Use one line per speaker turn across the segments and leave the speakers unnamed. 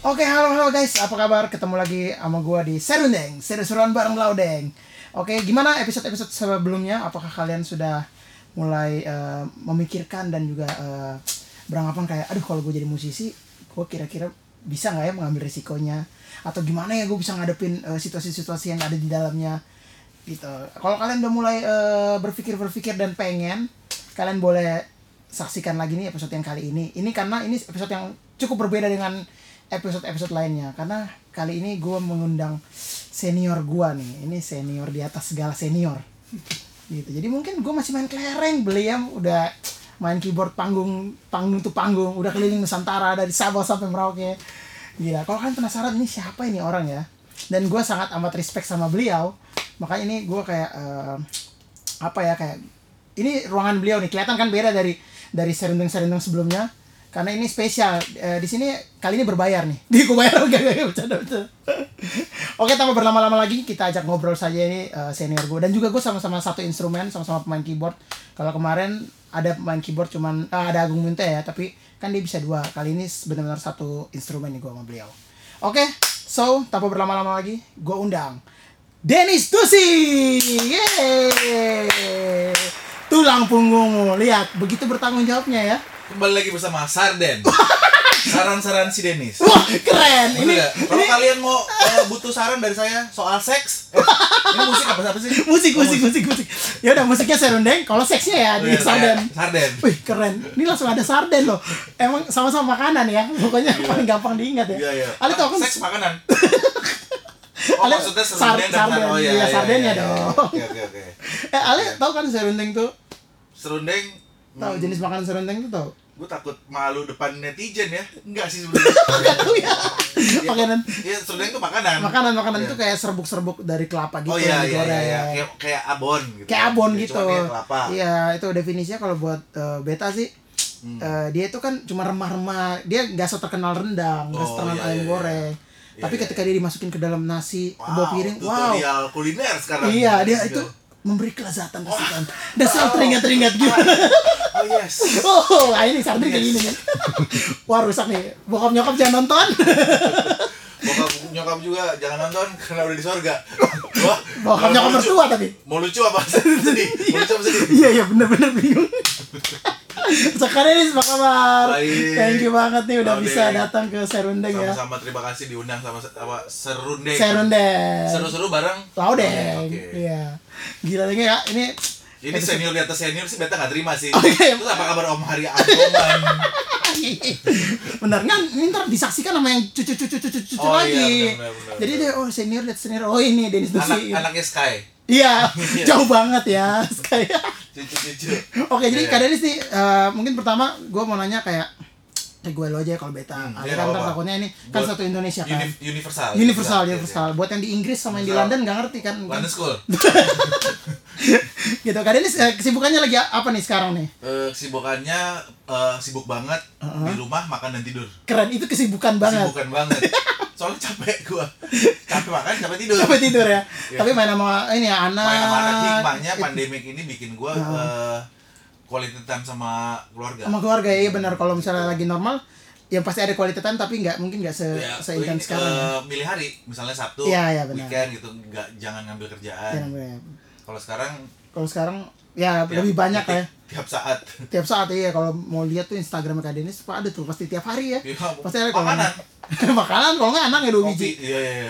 Oke, halo halo guys, apa kabar? Ketemu lagi sama gua di Serundeng, seru-seruan bareng Laudeng. Oke, gimana episode-episode sebelumnya? Apakah kalian sudah mulai eh, memikirkan dan juga eh, beranggapan kayak, aduh kalau gue jadi musisi, gue kira-kira bisa nggak ya mengambil risikonya? Atau gimana ya gue bisa ngadepin eh, situasi-situasi yang ada di dalamnya? Gitu. Kalau kalian udah mulai eh, berpikir-berpikir dan pengen, kalian boleh saksikan lagi nih episode yang kali ini. Ini karena ini episode yang cukup berbeda dengan episode-episode lainnya. Karena kali ini gue mengundang senior gue nih. Ini senior di atas segala senior. Gitu. Jadi mungkin gue masih main kelereng beliau udah main keyboard panggung panggung tuh panggung udah keliling Nusantara dari Sabah sampai Merauke gila kalau kalian penasaran ini siapa ini orang ya dan gue sangat amat respect sama beliau makanya ini gue kayak eh, apa ya kayak ini ruangan beliau nih kelihatan kan beda dari dari serundeng-serundeng sebelumnya karena ini spesial Eh, di sini kali ini berbayar nih di gue bayar enggak enggak enggak, bercanda bercanda. oke tanpa berlama-lama lagi kita ajak ngobrol saja ini eh, senior gue dan juga gue sama-sama satu instrumen sama-sama pemain keyboard kalau kemarin ada pemain keyboard cuman ah, ada Agung Munte ya tapi kan dia bisa dua kali ini benar-benar satu instrumen nih gue sama beliau oke so tanpa berlama-lama lagi gue undang Dennis Tusi. Yeay. Tulang punggungmu. Lihat, begitu bertanggung jawabnya ya.
Kembali lagi bersama Sarden. Saran-saran si Denis.
Wah, keren.
Bener
Ini
nggak? Kalau kalian mau eh, butuh saran dari saya soal seks, eh, ini musik apa apa sih?
musik, musik, musik, musik. Ya udah musiknya serundeng, kalau seksnya ya di
Iya,
sarden.
saya- Sarden.
Wih, keren. Ini langsung ada sarden loh. Emang sama-sama makanan ya. Pokoknya paling gampang diingat ya.
Iya, iya.
Ali tau kan
seks makanan. Oh,
Ale-
maksudnya
sar-
sarden dan
sarden.
sarden. Oh iya,
Iya, sardennya dong.
Oke, oke, oke.
eh Ale
Iya.
tau kan serundeng tuh?
Serundeng Hmm.
Tahu jenis makanan serundeng tuh tau?
gue takut malu depan netizen ya. Enggak sih sebenarnya.
Gak tau ya. Makanan
Iya, serundeng itu makanan.
makanan-makanan
Iya.
itu kayak serbuk-serbuk dari kelapa gitu
Oh
yang
iya, iya, iya,
digoreng.
iya. Kayak, kayak abon gitu.
kayak abon
Iya,
gitu.
Cuma kayak kelapa.
Iya, itu definisinya kalau buat eh, beta sih
Hmm.
eh, dia itu kan cuma remah-remah. Dia nggak seterkenal rendang, nggak
Oh,
seterkenal
iya,
ayam
iya,
goreng.
Iya,
Tapi
iya,
ketika dia dimasukin ke dalam nasi, ke bawah piring, wow.
tutorial kuliner sekarang.
Iya, dia itu memberi kelezatan pastikan. Dan selalu teringat-teringat gitu.
Oh yes.
Oh, ah, ini sardin kayak gini nih. Wah, rusak nih. Bokap nyokap jangan nonton.
Bokap nyokap juga jangan nonton karena udah di sorga. Wah,
Bokap
kalau
nyokap
mau lucu-
mertua tapi.
Mau lucu apa? Sedih. Mau lucu apa sedih?
Iya, iya bener-bener bingung. Sekarang ini apa kabar?
Baik.
Thank you banget nih udah
Baik.
bisa datang ke Serundeng ya.
Sama-sama terima kasih diundang sama apa Serundeng.
Serundeng.
Seru-seru bareng.
Laudeng.
Oh, Oke.
Iya. Gila lagi ya. Ini
Ini senior di atas senior sih beta nggak terima sih.
Oke.
Terus apa kabar Om Hari Agoman?
bener kan ini ntar disaksikan sama yang cucu-cucu-cucu
Oh, iya,
lagi.
benar, benar, benar,
Jadi dia oh senior lihat senior. Oh ini Dennis
Anak
Dusi.
anaknya Sky.
Iya, jauh banget ya. Kayak
Cucu-cucu.
Oke, jadi
Iya.
Kak Denis nih, eh, mungkin pertama gue mau nanya kayak eh, gue lo aja ya kalau beta.
Hmm,
Ada kan
iya, nggak
ntar
apa-apa.
takutnya ini kan
Buat
satu Indonesia kan.
Uni- universal.
Universal,
Iya, iya.
universal. Buat yang di Inggris sama yang di
Universal.
London nggak ngerti kan.
London School.
gitu. Kak Denis eh, kesibukannya lagi a- apa nih sekarang nih?
Eh, kesibukannya eh, sibuk banget di rumah makan dan tidur.
Keren, itu kesibukan banget.
Kesibukan banget. Soalnya capek gua. Capek makan, capek tidur.
Sampai tidur ya. Tapi main sama ini ya anak.
Iya. Main sama anak hikmahnya pandemik ini bikin gua eh, quality time sama keluarga.
sama keluarga ya benar kalau misalnya lagi normal ya pasti ada kualitatif tapi nggak mungkin nggak se
Ya, ini,
seintens sekarang. ya.
eh, milih hari, misalnya Sabtu,
Iya, iya, benar.
weekend gitu, nggak jangan ngambil
Ya,
kerjaan.
namanya.
Kalau sekarang
Kalau sekarang ya
tiap
lebih banyak
detik,
lah ya.
Tiap saat.
tiap saat iya kalau mau lihat tuh Instagram Kak Denis Pak ada tuh pasti tiap hari ya
Iya,
pasti ada kalau
makanan.
nggak- makanan kalau nggak anak ya dua biji
Kopi, iya iya. iya.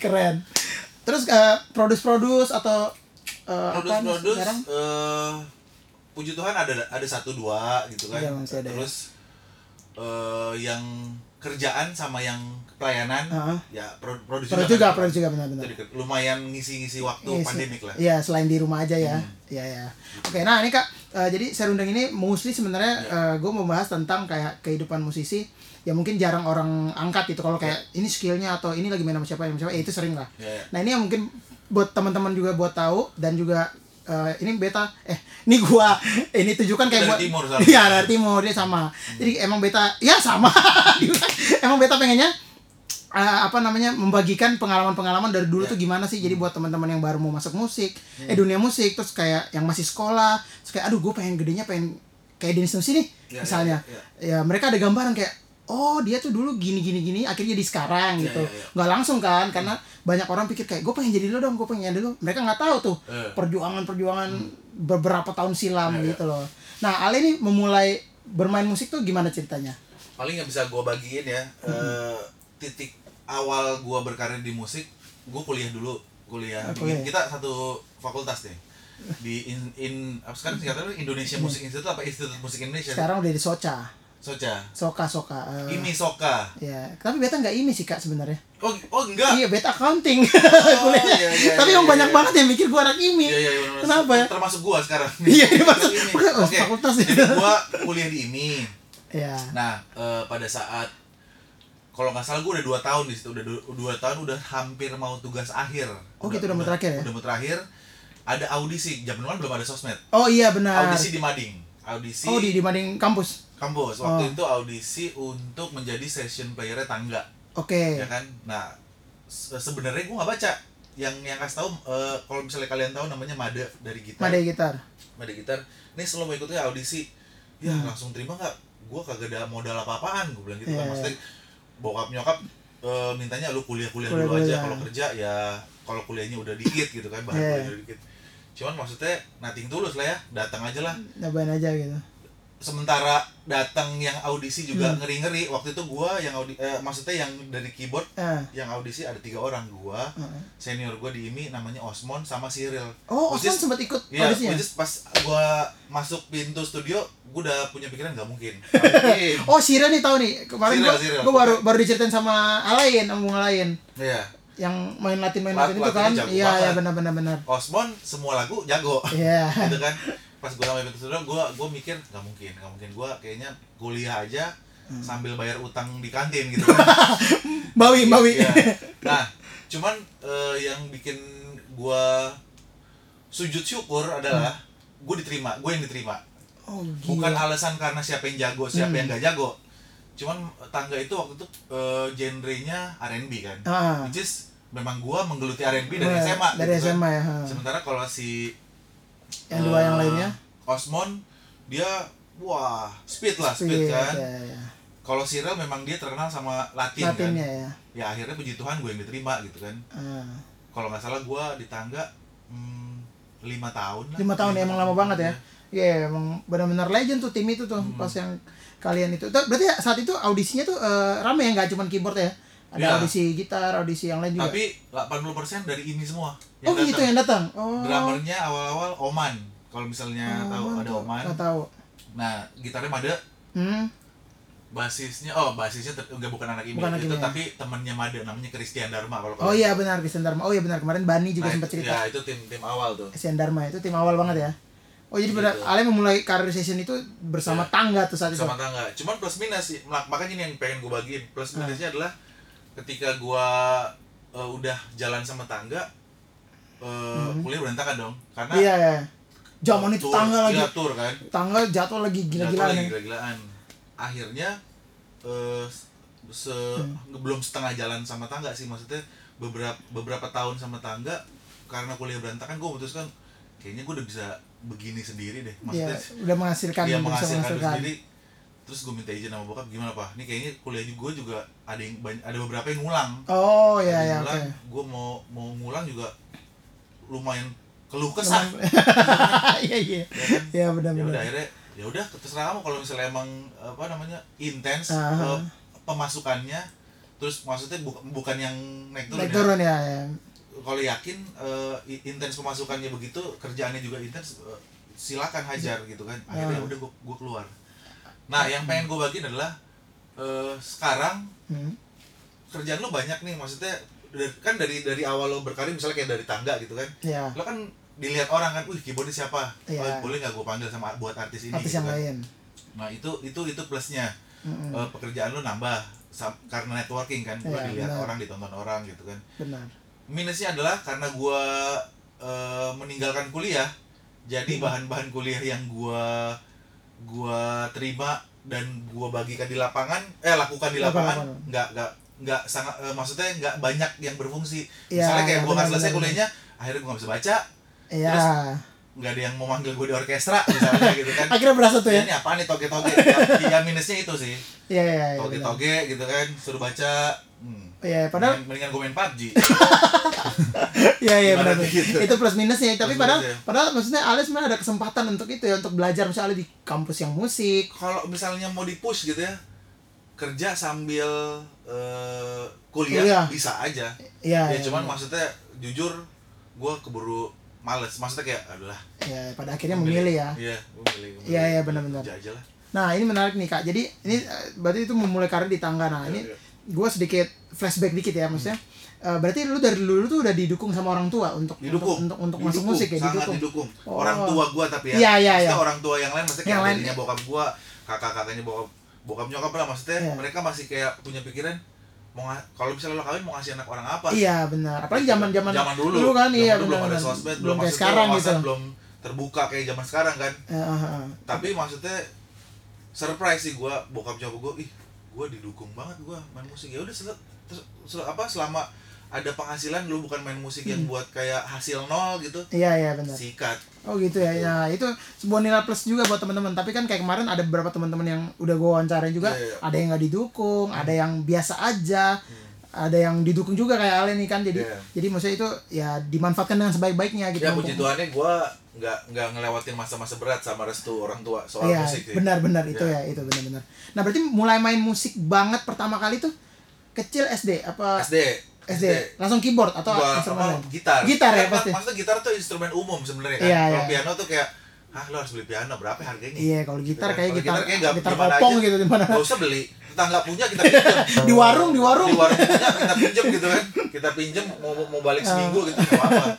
keren terus eh, produce-produce atau eh, apa nih
produs-produs
sekarang
eh, puji Tuhan ada ada satu dua gitu kan
Iya, masih ada ya.
terus eh, yang kerjaan sama yang pelayanan
Heeh.
ya pro- produs
produce
kan.
juga produce juga benar-benar
Jadi lumayan ngisi-ngisi waktu
Iya sih.
pandemik lah Hmm.
Iya, selain di rumah aja ya. Iya, ya. Oke, nah ini Kak, eh, jadi serundeng ini mostly sebenarnya
Iya.
gue mau bahas tentang kayak kehidupan musisi yang mungkin jarang orang angkat gitu. Kalau kayak ini skillnya atau ini lagi main sama siapa, sama siapa, ya itu sering lah.
Iya, iya.
Nah, ini yang mungkin buat teman-teman juga buat tahu dan juga eh, ini beta eh ini gua ini tujukan kayak
Dari
buat
timur sama.
iya dari timur dia sama jadi emang beta ya sama emang beta pengennya eh, apa namanya membagikan pengalaman-pengalaman dari dulu
Ya.
tuh gimana sih
Hmm.
jadi buat teman-teman yang baru mau masuk musik eh dunia musik terus kayak yang masih sekolah terus kayak aduh gue pengen gedenya pengen kayak Dennis Nusi nih
Ya,
misalnya
ya,
ya mereka ada gambaran kayak oh dia tuh dulu gini gini gini akhirnya jadi sekarang
Iya,
gitu
iya, iya.
nggak langsung kan karena banyak orang pikir kayak gue pengen jadi lo dong gue pengen jadi lo mereka nggak tahu tuh
Iya.
perjuangan perjuangan
Hmm.
beberapa tahun silam
Iya, iya.
gitu loh nah Ale ini memulai bermain musik tuh gimana ceritanya
paling yang bisa gua bagiin ya eh, titik awal gua berkarir di musik gua kuliah dulu kuliah
Ah, kuliah.
bikin- kita satu fakultas nih di in, in apa sekarang singkatannya Indonesia Music Institute apa Institut Musik Indonesia
sekarang udah di Soca
Soca
Soka Soka eh,
Imi Soka
ya tapi beta nggak ini sih kak sebenarnya
oh oh enggak
iya beta accounting
Oh,
kuliahnya
iya, iya,
tapi
iya,
emang
iya,
banyak
iya.
banget yang mikir gua anak ini
Iya, iya, iya, benar.
Kenapa ya?
Termasuk gua sekarang.
Iya, iya, maksud-
Ini.
Oh,
Oke.
fakultas ya.
Jadi gua kuliah di IMI.
ya
Nah, eh, pada saat kalau nggak salah gua udah 2 tahun di situ, udah 2 tahun udah hampir mau tugas akhir.
Oh, gitu, udah mau terakhir ya?
Udah mau terakhir. Ada audisi, zaman dulu kan belum ada sosmed.
oh iya benar
Audisi di Mading. Audisi
oh di Oh. dibanding kampus
kampus. Waktu itu audisi untuk menjadi session player tangga,
oke
ya kan? Nah, se- sebenarnya gua nggak baca yang yang kasih tahu eh, kalau misalnya kalian tahu namanya Made dari gitar.
Madai gitar
Made gitar nih selalu mau ikutnya audisi ya
Hmm.
langsung terima nggak gue kagak ada modal apa-apaan gue bilang gitu kan
Iya.
maksudnya bokap nyokap eh, mintanya lu kuliah-kuliah
Kuliah
dulu
dulu
aja
ya.
kalau kerja ya kalau kuliahnya udah dikit gitu kan bahan
Iya.
kuliahnya udah dikit cuman maksudnya nothing tulus lah ya datang aja lah
nyobain aja gitu
sementara datang yang audisi
Hmm.
juga ngeri-ngeri waktu itu gua yang audi eh, maksudnya yang dari keyboard
ah
yang audisi ada tiga orang gua
Heeh.
senior gua di IMI namanya Osmon sama Cyril
Oh,
Which
Osman
is-
sempat ikut
Iya,
audisinya?
which is pas gua masuk pintu studio, gua udah punya pikiran nggak mungkin. Nggak mungkin.
Oh, Sira nih tahu nih. Kemarin
Sira,
gua,
Sira.
gua baru baru diceritain sama Alain, sama Bung Alain
Iya.
yang main Latin main
Lat-
Latin itu
Latinnya
kan.
jago
Iya,
banget.
iya benar benar benar.
Osmon semua lagu jago.
Iya.
gitu kan. Pas gua sampai pintu studio, gua gua mikir nggak mungkin, nggak mungkin gua kayaknya kuliah aja
Hmm.
sambil bayar utang di kantin gitu.
Bawi, bawi.
Iya. Nah, cuman eh, yang bikin gua sujud syukur adalah
Hmm.
gua diterima, gua yang diterima.
Oh,
bukan
gila. Hmm.
alasan karena siapa yang jago siapa yang gak jago cuman tangga itu waktu itu eh, genrenya R&B kan
Ah.
which is memang gua menggeluti R&B dari
Wah,
SMA
Iya, Dari
gitu kan.
SMA ya. ha.
sementara kalau si
Yang dua
eh,
yang lainnya?
Osmon dia wah speed lah speed,
Iya,
kan
iya, iya.
kalau Cyril memang dia terkenal sama Latin,
Latinnya
kan
ya.
ya akhirnya puji Tuhan gue yang diterima gitu kan
Ah.
kalau nggak salah gua di tangga hmm, lima tahun lah
Lima tahun ya, emang lama banget ya. Iya, emang benar-benar legend tuh tim itu
Hmm.
tuh pas yang kalian itu. Tuh, Berarti saat itu audisinya tuh eh, rame ya nggak cuma keyboard ya? Ada
Iya.
audisi gitar, audisi yang lain juga.
tapi 80% dari ini semua
oh,
datang.
gitu yang datang. Oh.
Drummernya awal-awal Oman. Kalau misalnya tahu
Ah,
ada
tuh,
Oman.
nggak tahu.
Nah, gitarnya Made,
Hmm.
basisnya oh basisnya ter- enggak bukan anak ini
Bukan anak
itu
ini, ya.
tapi temennya Made namanya Christian Dharma kalau
Oh iya benar Christian Dharma. Oh iya benar kemarin Bani juga sempat cerita.
Ya, itu tim tim awal tuh.
Christian Dharma itu tim awal banget ya. Oh jadi pada
Gitu.
Ale memulai karir session itu bersama
Iya.
tangga tuh saat itu.
Sama tangga. Cuman plus minus sih. Mak- Makanya ini yang pengen gue bagiin. Plus
Ah.
minusnya adalah ketika gua eh, udah jalan sama tangga eh kuliah berantakan dong. Karena
Mm-hmm. Iya ya. Zaman itu
tur-
tangga lagi.
gila tur kan.
Tangga jatuh lagi gila-gilaan.
Jatuh lagi
ya.
gila-gilaan akhirnya eh, se
Hmm.
belum setengah jalan sama tangga sih maksudnya beberapa beberapa tahun sama tangga karena kuliah berantakan gue memutuskan kayaknya gue udah bisa begini sendiri deh
Iya,
maksudnya
udah menghasilkan
dia
bisa
menghasilkan diri sendiri terus gue minta izin sama bokap gimana pak ini kayaknya kuliah gue juga ada yang banyak, ada beberapa yang ngulang
Oh iya
Ada
iya
yang
oke.
ngulang gue mau mau ngulang juga lumayan keluh kesah
Iya iya.
ya
Iya
kan?
benar
ya udah
benar.
akhirnya ya udah terserah kamu kalau misalnya emang apa namanya intens
Aha.
eh, pemasukannya terus maksudnya bu- bukan yang naik turun,
Naik
ya.
turun ya. ya.
kalau yakin eh, i- intens pemasukannya begitu kerjaannya juga intens eh, silakan hajar gitu kan akhirnya
Ah.
udah gua, gua keluar nah yang pengen gua bagiin adalah eh, sekarang
Hmm.
kerjaan lo banyak nih maksudnya dari- kan dari dari awal lo berkarir misalnya kayak dari tangga gitu kan
Ya.
lo kan dilihat orang kan, wih keyboardnya siapa?
Iya.
Oh, boleh nggak gue panggil sama buat artis ini?
Artis
gitu
yang
kan.
lain. Hmm,
Nah itu itu itu plusnya
Mm-mm.
Eh, pekerjaan lu nambah Sam- karena networking kan, lu
Iya,
dilihat
benar.
orang ditonton orang gitu kan.
Benar.
Minusnya adalah karena gua eh, meninggalkan kuliah,
Hmm.
jadi bahan-bahan kuliah yang gua gua terima dan gua bagikan di lapangan, eh lakukan di lapangan,
Lapangan.
nggak nggak nggak sangat eh, maksudnya nggak banyak yang berfungsi.
Iya,
Misalnya kayak
iya,
gua nggak
benar,
selesai
benar,
kuliahnya, akhirnya gua nggak bisa baca,
Iya.
Terus, nggak ada yang mau manggil gue di orkestra misalnya gitu kan
akhirnya berasa tuh ya
ini apa nih toge-toge ya, ya minusnya itu sih
iya iya iya benar.
toge-toge gitu kan suruh baca hmm.
iya iya, padahal
mendingan, mendingan gue main PUBG
iya iya benar
Ibaratnya
benar.
gitu.
itu plus minusnya tapi
Plus ya.
padahal
minusnya.
padahal maksudnya Alia sebenarnya ada kesempatan untuk itu ya untuk belajar misalnya di kampus yang musik
kalau misalnya mau di push gitu ya kerja sambil eh,
Kuliah.
kuliah, bisa aja
iya
ya
iya,
cuman
benar.
maksudnya jujur gue keburu males maksudnya kayak adalah
iya pada akhirnya memilih ya
iya gue milih gue
Iya,
milih.
iya, benar-benar.
Kerja aja lah
Nah ini menarik nih kak. Jadi ini eh, berarti itu memulai karir di tangga. Nah ini
Iya, iya.
gue sedikit flashback dikit ya maksudnya. Eh, berarti lu dari dulu tuh udah didukung sama orang tua untuk
didukung
untuk untuk, untuk masuk
Didukung.
musik ya
sangat
didukung.
didukung
Oh.
orang tua gue tapi ya
Iya, iya,
Maksudnya
iya.
orang tua yang lain maksudnya
Yang
kayak
lain.
adiknya bokap gue kakak kakaknya bokap bokap nyokap lah maksudnya
Iya.
mereka masih kayak punya pikiran mau nga- kalau misalnya lo kawin mau ngasih anak orang apa Gitu kan.
Iya benar. Apalagi zaman zaman
zaman dulu
dulu kan iya
dulu belum
benar.
ada
benar.
sosmed
belum
belum
kayak
maksudnya
sekarang gitu.
wawasan belum terbuka kayak zaman sekarang kan
Eh, eh, eh.
tapi maksudnya surprise sih gue bokap cowok gue ih gue didukung banget gue main musik ya udah sel- terus- sel- apa selama ada penghasilan lu bukan main musik yang
Hmm.
buat kayak hasil nol gitu
Iya iya benar.
sikat
Oh gitu ya.
Iya.
Ya itu sebuah nilai plus juga buat teman-teman. Tapi kan kayak kemarin ada beberapa teman-teman yang udah gue wawancarain juga,
Iya, Hmm. iya.
ada yang nggak didukung, ada yang biasa aja, ada yang didukung juga kayak Ale nih kan. Jadi
Iya.
jadi maksudnya itu ya dimanfaatkan dengan sebaik-baiknya gitu.
ya puji Tuhannya gue nggak nggak ngelewatin masa-masa berat sama restu orang tua soal
Iya,
musik sih Iya.
benar-benar itu ya, itu benar-benar. Nah, berarti mulai main musik banget pertama kali tuh kecil SD apa
SD
SD, langsung keyboard atau
Gua-
instrumen
apa,
lain?
gitar
Gitar ya,
Kan, mak-
pasti.
maksudnya gitar tuh instrumen umum sebenarnya kan
Iya,
kalau
iya.
piano tuh kayak ah lo harus beli piano berapa harganya
Iya, kalau gitar kayak
Gitu kan. Kalau
gitar
kayak
gitar,
nggak- gimana
kopong
aja.
gitu di mana.
Gak usah beli. Tetangga punya kita pinjam.
Di warung, di warung.
Di warung punya kita pinjam gitu kan. Kita pinjam mau mau balik seminggu gitu nggak apa-apa.
Ah.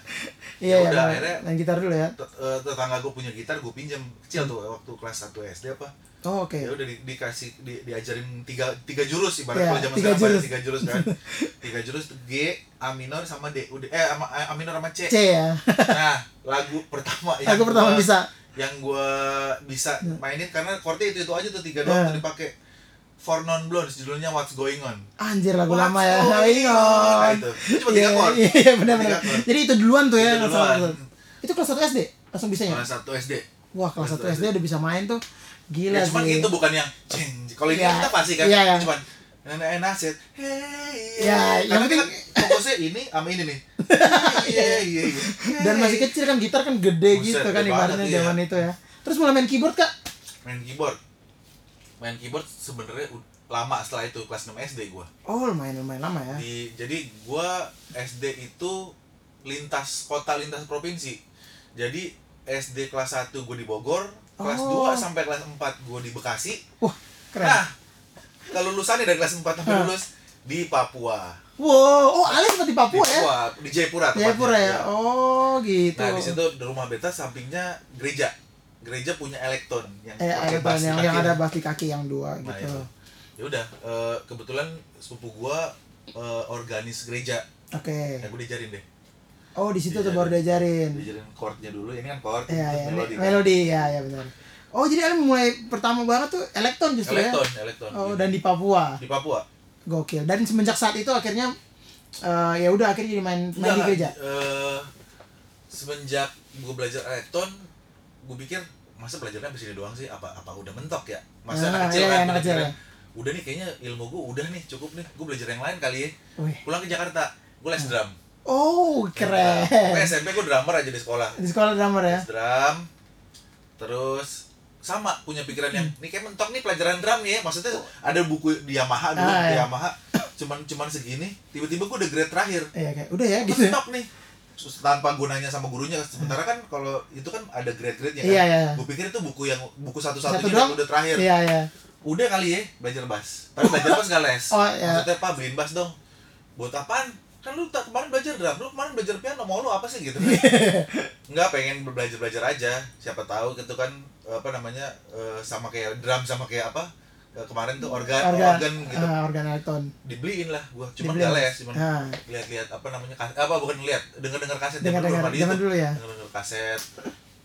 Iya,
Ya
ya,
udah,
main-
akhirnya-
main gitar dulu ya.
Tet- eh, Tetangga gue punya gitar, gue pinjam kecil tuh waktu kelas 1 SD apa.
Oh, oke.
Ya udah di- dikasih di- diajarin tiga tiga
Iya,
jurus ibarat kalau zaman
tiga
sekarang
jurus.
ada tiga jurus kan. tiga jurus tuh G, A minor sama D. Udah eh sama A A minor sama C.
C ya.
Nah, lagu pertama yang
Aku pertama
gua-
bisa. Ya.
yang gue bisa mainin karena chordnya itu itu aja tuh tiga doang
Nah.
tuh dipakai for non blondes judulnya what's going on
Anjir lagu
What's
lama ya.
going
Nah, iya.
on? Nah, itu. Itu cuma tiga
Iya,
chord.
Iya, iya, benar-benar.
Tiga chord.
Jadi itu duluan tuh ya.
Itu
langsung-
duluan.
langsung. Itu kelas 1 SD langsung bisa ya?
kelas satu sd
Wah, kelas 1 SD udah bisa main tuh.
ya,
Gila Iya sih.
cuman itu bukan yang ceng kalau ini
Iya.
kita pasti kan
Iya, iya.
cuman nenek nasid hey
Iya, yang
tapi kan
penting-
fokusnya ini sama ini nih Hey, iya iya iya
dan masih
Hey.
kecil kan gitar kan gede
Buset,
gitu kan
gede
ibaratnya
banget, iya.
zaman itu ya terus mulai main keyboard kak
main keyboard main keyboard sebenarnya ud- lama setelah itu kelas 6 sd gue
oh lumayan lumayan lama ya
di jadi gua SD itu lintas kota lintas provinsi jadi SD kelas 1 gua di Bogor kelas
Oh.
2 sampai kelas 4 gua di Bekasi
wah keren
nah kelulusannya dari kelas 4 sampai lulus di Papua
wow oh Ale sempat di Papua
di
ya
Papua di Jayapura tepatnya.
Jayapura ya
Ya.
oh gitu
nah di situ di rumah beta sampingnya gereja gereja punya elekton yang
eh ada
pakai bass di
yang
kaki. ya.
yang ada bass di kaki yang dua
Nah,
gitu
itu. ya udah eh, kebetulan sepupu gua eh, organis gereja
oke
ya gua diajarin deh
oh di situ Eh. tuh
Diajarin.
baru diajarin
diajarin chordnya dulu ini kan chord
ya
terus
ya
melodi, kan?
melodi ya ya benar oh jadi Ale mulai pertama banget tuh elektron justru ya
elektron elektron
oh
Di-
dan di Papua
di Papua
gokil dan semenjak saat itu akhirnya eh, ya udah akhirnya jadi main main di
Enggak,
gereja
eh, semenjak gue belajar elektron gue pikir masa belajarnya abis ini doang sih apa apa udah mentok ya masa
Ah,
anak
iya,
kecil kan
anak
gua
kecil,
pikirin,
ya.
udah nih kayaknya ilmu gue udah nih cukup nih gue belajar yang lain kali ya
Wih.
pulang ke Jakarta gue les drum Nah,
Oh, Ah, keren.
Pokoknya SMP gue drummer aja di sekolah
Di sekolah drummer ya.
les drum terus sama punya pikiran yang
Hmm.
nih kayak mentok nih pelajaran drum nih ya maksudnya ada buku di Yamaha dulu
Ah,
di
iya.
Yamaha cuman cuman segini tiba-tiba gue udah grade terakhir
Iya kayak udah ya gitu.
gitu stop nih Terus tanpa gunanya sama gurunya sementara kan kalau itu kan ada grade-grade ya kan
Iya, iya.
gue pikir itu buku yang buku
Satu
satu-satunya
doang?
yang udah terakhir
Iya ya.
udah kali ya belajar bass tapi belajar bass gak les
Oh, iya.
maksudnya pak beliin bass dong buat apaan kan lu tak kemarin belajar drum lu kemarin belajar piano mau lu apa sih gitu kan nggak pengen belajar belajar aja siapa tahu gitu kan apa namanya eh, sama kayak drum sama kayak apa eh, kemarin tuh organ organ,
Organ
gitu
ah, organ elektron.
dibeliin lah gua cuma
Dibeliin.
gak les cuman
Ah.
lihat-lihat apa namanya kas- apa bukan lihat dengar-dengar kaset
Dengar
zaman
dengar
belum ada
zaman
YouTube.
dulu ya.
Dengar-dengar kaset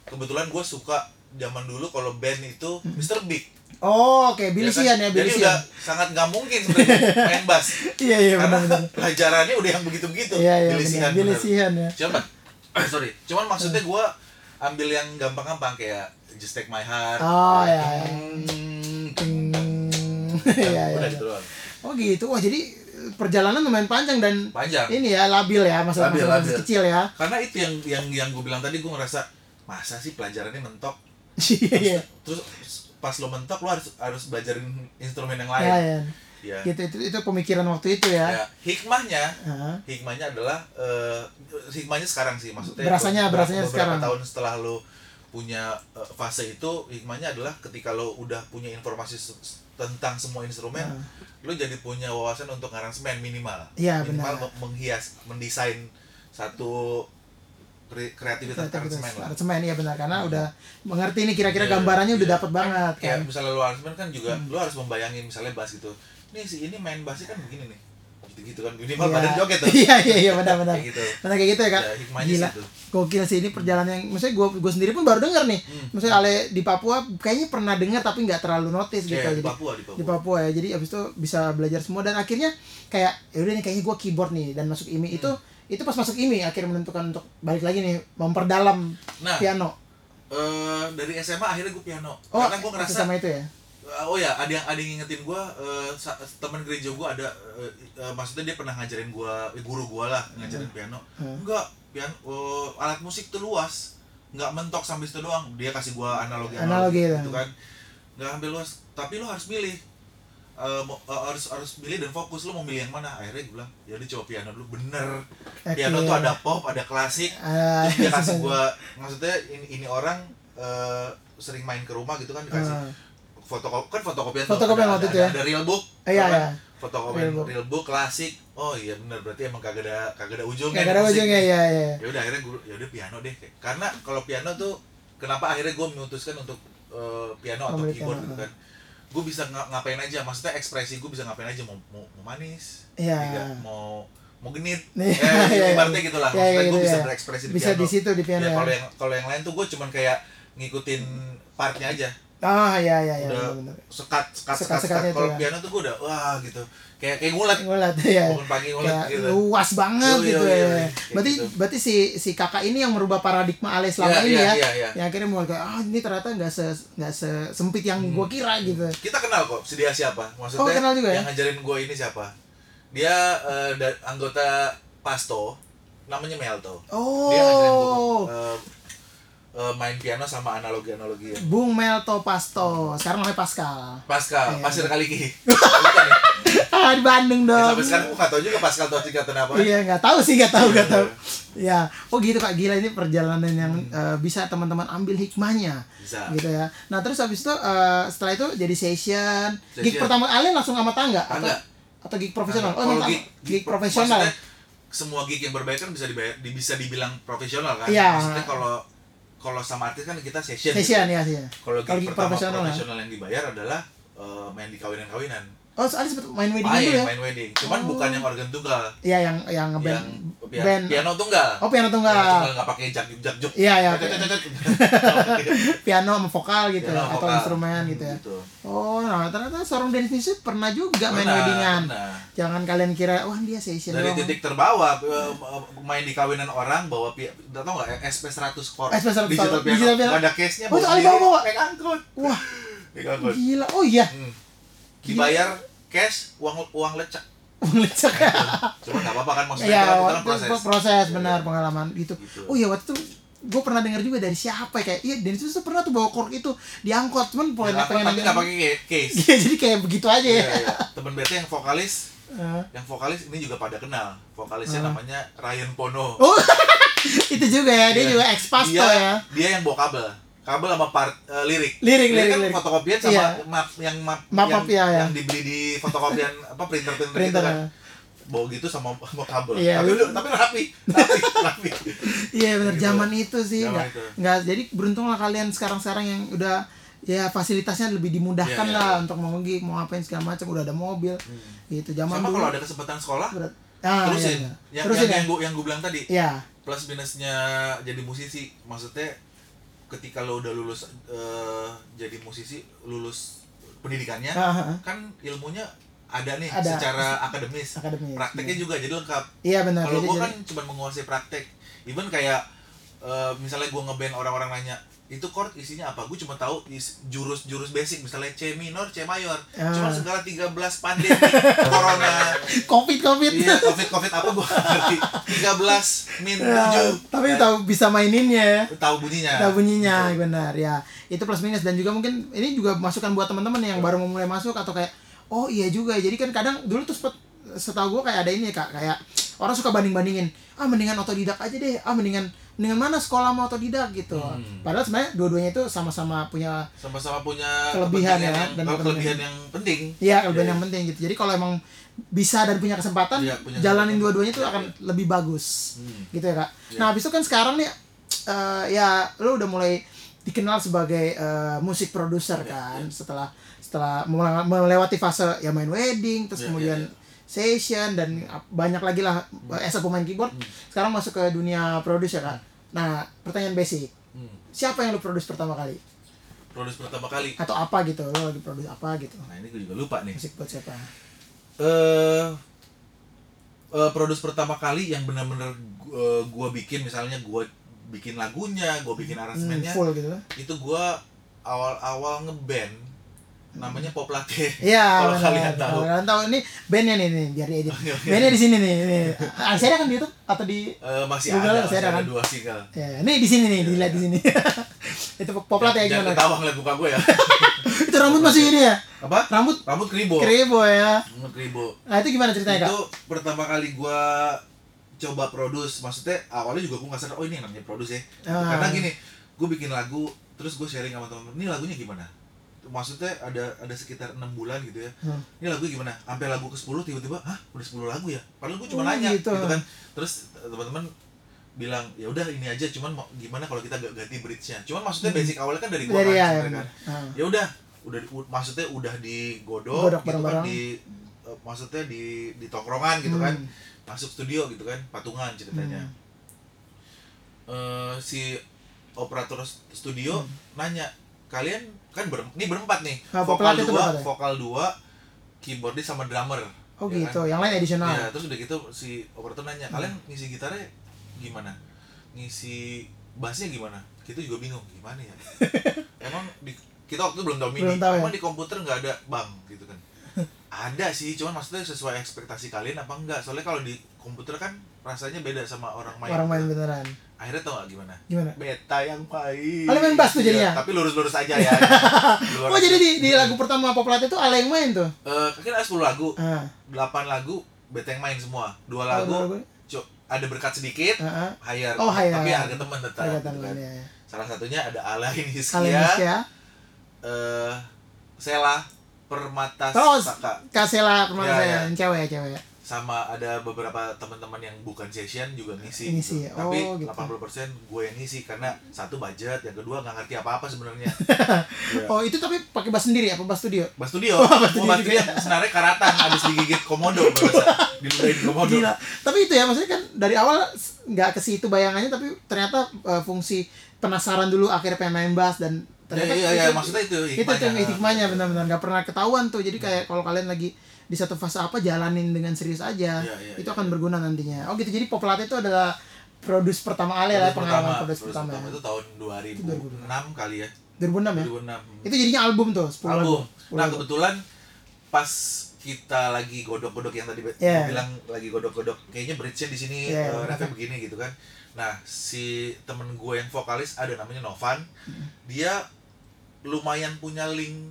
kebetulan gue suka zaman dulu kalau band itu Mr. Big
Oh, oke, Billy
kan?
Sian ya, Billy
jadi udah
Sian.
sangat nggak mungkin sebenarnya main bass
Iya iya
karena
benar benar.
pelajarannya udah yang begitu-begitu
Iya iya
Billy
benar.
Sheehan,
Billy
bener.
Sheehan ya.
cuman sorry cuman maksudnya gue ambil yang gampang-gampang kayak Just Take My Heart.
Oh,
kayak,
iya, iya.
"Mm,
Hmm,
udah,
iya, iya,
udah
iya.
gitu doang.
Oh gitu. Wah, jadi eh, perjalanan lumayan panjang dan
Panjang.
ini ya labil ya masalah
Labil,
masalah
labil.
kecil ya.
Karena itu yang yang yang gue bilang tadi gue ngerasa masa sih pelajarannya mentok.
Iya, iya.
Terus pas lo mentok lo harus harus belajarin instrumen yang
Ya,
lain.
ya.
Iya.
Gitu itu itu pemikiran waktu itu ya.
Ya, hikmahnya
Heeh.
hikmahnya adalah eh, hikmahnya sekarang sih maksudnya
Berasanya-
beberapa-
berasanya
beberapa
sekarang.
tahun setelah lo punya eh, fase itu hikmahnya adalah ketika lo udah punya informasi se- se- tentang semua instrumen
Nah.
lo jadi punya wawasan untuk aransemen minimal
Iya, benar.
minimal me- menghias mendesain satu kre- kreativitas aransemen lah
Aransemen ya benar karena udah mengerti nih kira-kira
Iya,
gambarannya udah
iya.
dapat banget kan.
kayak misalnya lo aransemen kan juga lo harus membayangin misalnya bass gitu nih si ini main bassnya kan begini nih gitu gitu kan minimal
Iya.
badan joget tuh
Iya iya iya benar benar.
Kayak gitu
Benar kayak gitu ya kan.
Ya, hikmahnya
Gila.
situ.
Gokil sih ini perjalanan yang maksudnya gua gua sendiri pun baru dengar nih.
Hmm.
Maksudnya Ale di Papua kayaknya pernah dengar tapi nggak terlalu notice gitu.
Kayak di
Jadi-
Iya, Papua di Papua
di Papua ya jadi abis itu bisa belajar semua dan akhirnya kayak yaudah nih kayaknya gue keyboard nih dan masuk IMI itu
Hmm.
itu pas masuk IMI akhirnya menentukan untuk balik lagi nih memperdalam
nah
piano
eh dari SMA akhirnya gue piano
oh
karena gue ngerasa
sama itu ya
eh, oh ya ada yang ada yang ngingetin gue eh, sa- teman gereja gue ada eh, eh, maksudnya dia pernah ngajarin gue guru gue lah ngajarin piano
Hmm.
enggak piano eh, alat musik tuh luas nggak mentok sampai situ doang dia kasih gue analogi
Analogi, ya.
gitu kan nggak sampai luas tapi lo harus milih Eh, mau- eh, harus harus pilih dan fokus lo mau milih yang mana akhirnya gue bilang ya udah coba piano dulu bener piano tuh ada ya, pop ada klasik
Ah,
Terus dia kasih gua maksudnya ini, ini orang eh, sering main ke rumah gitu kan dikasih
Ah.
fotokop kan fotokopian
Fotokopian
ada,
waktu
ada,
itu ya.
ada real book
Eh, iya
apa?
iya
fotokopian
Real
real
book.
book. klasik oh iya benar berarti emang kagak ada kagak ada ujungnya
gak ada
musik.
ujungnya ya ya
ya udah akhirnya gue ya udah piano deh karena kalau piano tuh kenapa akhirnya gue memutuskan untuk eh, piano atau
Ambil
keyboard
piano,
gitu kan gue bisa nga- ngapain aja maksudnya ekspresi gue bisa ngapain aja mau mau, mau manis
Iya.
tidak mau mau genit
Iya,
ya,
iya, iya.
ibaratnya gitu lah
Iya,
maksudnya
iya,
gue
iya.
bisa berekspresi di
bisa
piano
di situ di piano
ya, kalau
ya
yang kalau yang lain tuh gue cuman kayak ngikutin partnya aja
ah ya ya ya
Udah.
benar
sekat sekat sekat, sekat,
Sekat-sekatnya itu
kalau
ya.
piano tuh gue udah wah gitu kayak kayak ngulet
ngulat ya
bangun pagi ngulet
kayak
gitu
luas banget
Yo, yo,
gitu
yo,
ya
yo, kayak
berarti
gitu.
berarti si si kakak ini yang merubah paradigma Ale
Iya,
selama ini ya
iya, iya, iya.
yang akhirnya mulai kayak ah ini ternyata nggak se nggak sesempit yang gua
Hmm.
kira gitu
kita kenal kok si dia siapa maksudnya
Oh, kenal juga ya?
yang ngajarin gue ini siapa dia eh, da- anggota pasto namanya Melto dia ngajarin gue
oh
eh, eh, main piano sama analogi analogi ya.
Bung Melto Pasto sekarang namanya Pascal
Pascal
Iya.
pasir kali ki Bukan ya?
ah di Bandung
Ya,
dong
sampai sekarang gue nggak eh. Iya, tahu juga Pascal tuh singkatan apa
Iya nggak tahu sih nggak tahu nggak tahu. Ya, oh gitu kak gila ini perjalanan yang
Hmm.
eh, bisa teman-teman ambil hikmahnya
bisa
gitu ya. Nah terus habis itu eh, setelah itu jadi session. Gig
Session.
pertama Ale langsung sama tangga,
Tangga.
atau atau gig profesional?
Kalau
oh emang
gig-
tangga. gig,
gig pro-
profesional.
maksudnya semua gig yang berbayar kan bisa dibayar di- bisa dibilang profesional kan
Iya.
maksudnya kalau kalau sama artis kan kita session,
Session
gitu.
ya session.
kalau gig,
Kalau gig
pertama
profesional
profesional,
ya.
yang dibayar adalah eh, main di kawinan-kawinan
Oh soalnya sempet main wedding
main
dulu ya?
main wedding cuman
Oh.
bukan yang organ tunggal
Iya yang yang
yang
band
pia-
band.
piano tunggal
Oh piano
Piano
tunggal.
tunggal nggak pakai jak juk jak juk
Iya ya.
Cet, cet, cet, cet.
Piano sama vokal gitu
Piano
ya, atau
vokal.
instrumen
Hmm,
gitu ya. Oh, nah ternyata seorang dance music pernah juga main
Benar,
weddingan.
benar.
Jangan kalian kira wah dia session
dari
doang.
titik terbawah eh, main di kawinan orang bawa pia tau nggak ya, SP 100 core
SP100
digital
core,
piano,
digital piano.
Nggak ada case nya
Oh, itu Ali bawa-bawa.
naik angkot
Wah,
naik angkot
gila. Oh iya,
Hmm. dibayar cash uang uang lecek
uang lecek.
cuma nggak apa-apa kan maksudnya
ya. Iya,
itu kan- itu
waktu
kan proses
proses, benar
Iya.
pengalaman gitu.
Gitu.
Oh iya waktu itu gue pernah dengar juga dari siapa ya kayak iya dance music tuh pernah tuh bawa kork itu diangkot cuman
Nggak
pengen
apa-apa,
pengen
tapi nggak pakai ca- case
Iya, jadi kayak begitu aja
Iya,
ya.
iya. temen bete yang vokalis
Heeh.
yang vokalis ini juga pada kenal vokalisnya
Ah.
namanya Ryan Pono
Oh, itu juga ya, dia
Iya.
juga ex pasto
dia
ya.
dia yang bawa kabel kabel sama part eh, lirik
Lirik, lirik,
kan
lirik.
fotokopian sama
Iya.
map yang map,
Map,
yang,
map, iya, iya.
yang dibeli di fotokopian apa printer printer, gitu
Printer.
kan bawa gitu sama sama kabel
Iya.
tapi lu- tapi rapi rapi rapi
Iya benar
Gitu.
zaman itu sih
Zaman
nggak
itu.
nggak jadi beruntunglah kalian sekarang-sekarang yang udah ya fasilitasnya lebih dimudahkan
Iya, iya,
lah untuk mau ngi mau apain segala macam udah ada mobil gitu zaman
sama
dulu
kalau ada kesempatan sekolah
berat. Ah,
terusin
iya, iya.
yang
terusin
yang,
ya.
yang gua yang gua bilang tadi
Iya.
plus minusnya jadi musisi maksudnya ketika lo udah lulus eh, jadi musisi lulus pendidikannya
Ah, ah, ah.
kan ilmunya ada nih
Ada. Iya,
secara akademis
Akademis.
prakteknya juga jadi lengkap
Iya benar.
kalau
Jadi-
gua kan
jadi-
cuma menguasai praktek even kayak eh, misalnya gue ngeband orang-orang nanya itu chord isinya apa gue cuma tahu is- jurus-jurus basic misalnya C minor C mayor
Ah.
cuma segala 13 pandemi corona
covid covid
iya covid covid apa gue ngerti 13 min
Ya,
7
tapi tahu bisa maininnya ya
tahu bunyinya Gitu.
Tahu bunyinya benar ya itu plus minus dan juga mungkin ini juga masukan buat teman-teman yang baru mau mulai masuk atau kayak oh iya juga jadi kan kadang dulu tuh sempet setahu gue kayak ada ini ya, kak kayak orang suka banding bandingin ah mendingan otodidak aja deh ah mendingan mendingan mana sekolah sama otodidak gitu
Hmm.
padahal sebenarnya dua-duanya itu sama-sama punya
sama-sama punya
Kelebihan ya,
kepentingan
dan
yang,
kepentingan.
kelebihan yang penting
ya kelebihan yang penting gitu jadi kalau emang bisa dan punya kesempatan
Iya, punya
jalanin
kesempatan.
dua-duanya itu
Iya,
akan lebih bagus
Hmm.
gitu ya kak.
Iya.
Nah habis itu kan sekarang nih eh, ya lo udah mulai dikenal sebagai eh, musik produser
Iya,
kan setelah setelah mele- melewati fase ya main wedding terus
Iya,
kemudian
iya, Hmm.
session dan ap- banyak lagi lah eh, as a pemain keyboard sekarang masuk ke dunia produser kak. Nah pertanyaan basic
Hmm.
siapa yang lo produce pertama kali
produce pertama kali
atau apa gitu lo lagi produce apa gitu
nah ini gue juga lupa nih
musik buat siapa? Hmm,
eh eh, produce pertama kali yang benar-benar eh, gua bikin misalnya gua bikin lagunya gua bikin
Hmm,
aransemennya
full gitu.
itu gua awal-awal ngeband namanya Poplate
Iya,
kalau
benar.
kalian tahu
Kalau kalian tahu ini bandnya nih nih biar diedit. bandnya di sini nih. nih. Ah, Saya kan di YouTube atau di
Eh, masih
Google
ada
masih
masih
ada
ada
kan?
dua single
Ya, ini di sini nih, dilihat
Iya,
di sini. itu poplat ya
jangan
gimana?
ketawa ngeliat muka gue ya
Itu rambut masih ini ya?
apa
Rambut
rambut kribo
kribo ya.
rambut kribo
Nah, itu gimana ceritanya, Kak?
itu pertama kali gua coba produce maksudnya awalnya juga gua nggak sadar oh ini yang namanya produce ya
Ah.
karena gini gua bikin lagu terus gua sharing sama teman-teman ini lagunya gimana maksudnya ada ada sekitar enam bulan gitu ya
Hmm.
ini lagu gimana sampai lagu ke 10 tiba-tiba hah udah 10 lagu ya padahal gua cuma
Oh,
nanya
gitu.
gitu. kan terus eh, teman-teman bilang ya udah ini aja cuman mau- gimana kalau kita ga- ganti bridge-nya cuman maksudnya basic awalnya kan dari gua
Hmm. Dari
kan,
ya.
sebenarnya kan
Ah.
ya udah udah di- u- maksudnya udah digodok
Godok
gitu
bareng-bareng.
kan di eh, maksudnya di di tongkrongan gitu kan
Hmm.
masuk studio gitu kan patungan ceritanya
Hmm.
Eh, si operator st- studio nanya kalian kan ber ini berempat nih
Ah,
Hmm. Nah, vokal
pelatih itu
dua
berempat ya?
vokal dua keyboardis sama drummer
Oh,
ya kan?
gitu. Yang lain additional.
Ya, terus udah gitu si operator nanya,
Hmm.
"Kalian ngisi gitarnya gimana? Ngisi bassnya gimana?" Kita juga bingung, gimana ya? Emang di, kita waktu itu belum tahu MIDI.
Belum tahu ya?
Emang di komputer nggak ada, Bang, gitu kan. ada sih, cuman maksudnya sesuai ekspektasi kalian apa enggak? Soalnya kalau di komputer kan rasanya beda sama orang main.
Orang main beneran.
Akhirnya tau nggak gimana?
Gimana?
Beta yang main.
Oh, lu main bass tuh
Iya,
jadinya?
tapi lurus-lurus aja ya. Luar-
Oh, jadi di, di lagu pertama poplat itu Ale yang main tuh.
Eh, kan ada 10 lagu,
Ah.
8 lagu beta yang main semua. Dua
Oh,
lagu
dua lagu.
Cuk, ada berkat sedikit
Heeh.
hire
Oh, hire.
tapi harga teman tetap
Ada
gitu
teman
kan. Iya.
ya.
salah satunya ada Alain
Ale
Hiskia
Niskia.
eh Sela Permata
Terus.
Saka
Kasela kemana
Ya,
saya?
ya.
Yang Cewek ya, cewek. ya.
sama ada beberapa teman-teman yang bukan session juga ngisi,
Ngisi,
gitu.
oh,
tapi
gitu.
80% gue yang ngisi karena satu budget yang kedua nggak ngerti apa-apa sebenarnya Iya.
Oh, itu tapi pakai bass sendiri apa bass studio?
Bas
Oh,
studio, oh,
Bas
Bas
Studio juga.
Studio senarnya karatan habis digigit komodo berasa diludahin komodo.
Gila. Tapi itu ya maksudnya kan dari awal s- nggak ke situ bayangannya tapi ternyata eh, fungsi penasaran dulu akhirnya pengen main bass dan
Ya,
ternyata
iya, iya,
itu,
maksudnya Hmm. itu
itu
hikmahnya.
tuh hikmahnya benar-benar nggak pernah ketahuan tuh. Jadi kayak kalau kalian lagi di satu fase apa jalanin dengan serius aja.
Iya, iya,
itu
iya.
akan berguna nantinya. Oh gitu. Jadi Poplat itu adalah produce pertama Ale lah ya, Iya,
Produce
pengalaman produce
produce
pertama. ya.
itu tahun 2006 kali ya.
2006 ya.
2006.
Itu jadinya album tuh 10
album.
lagu. 10
Nah
lagu.
kebetulan pas kita lagi godok-godok yang tadi gue
Yeah.
bilang lagi godok-godok kayaknya bridge-nya di sini
Yeah,
eh,
benar.
refnya begini gitu kan. Nah, si temen gue yang vokalis ada namanya Novan.
Mm-hmm.
Dia lumayan punya link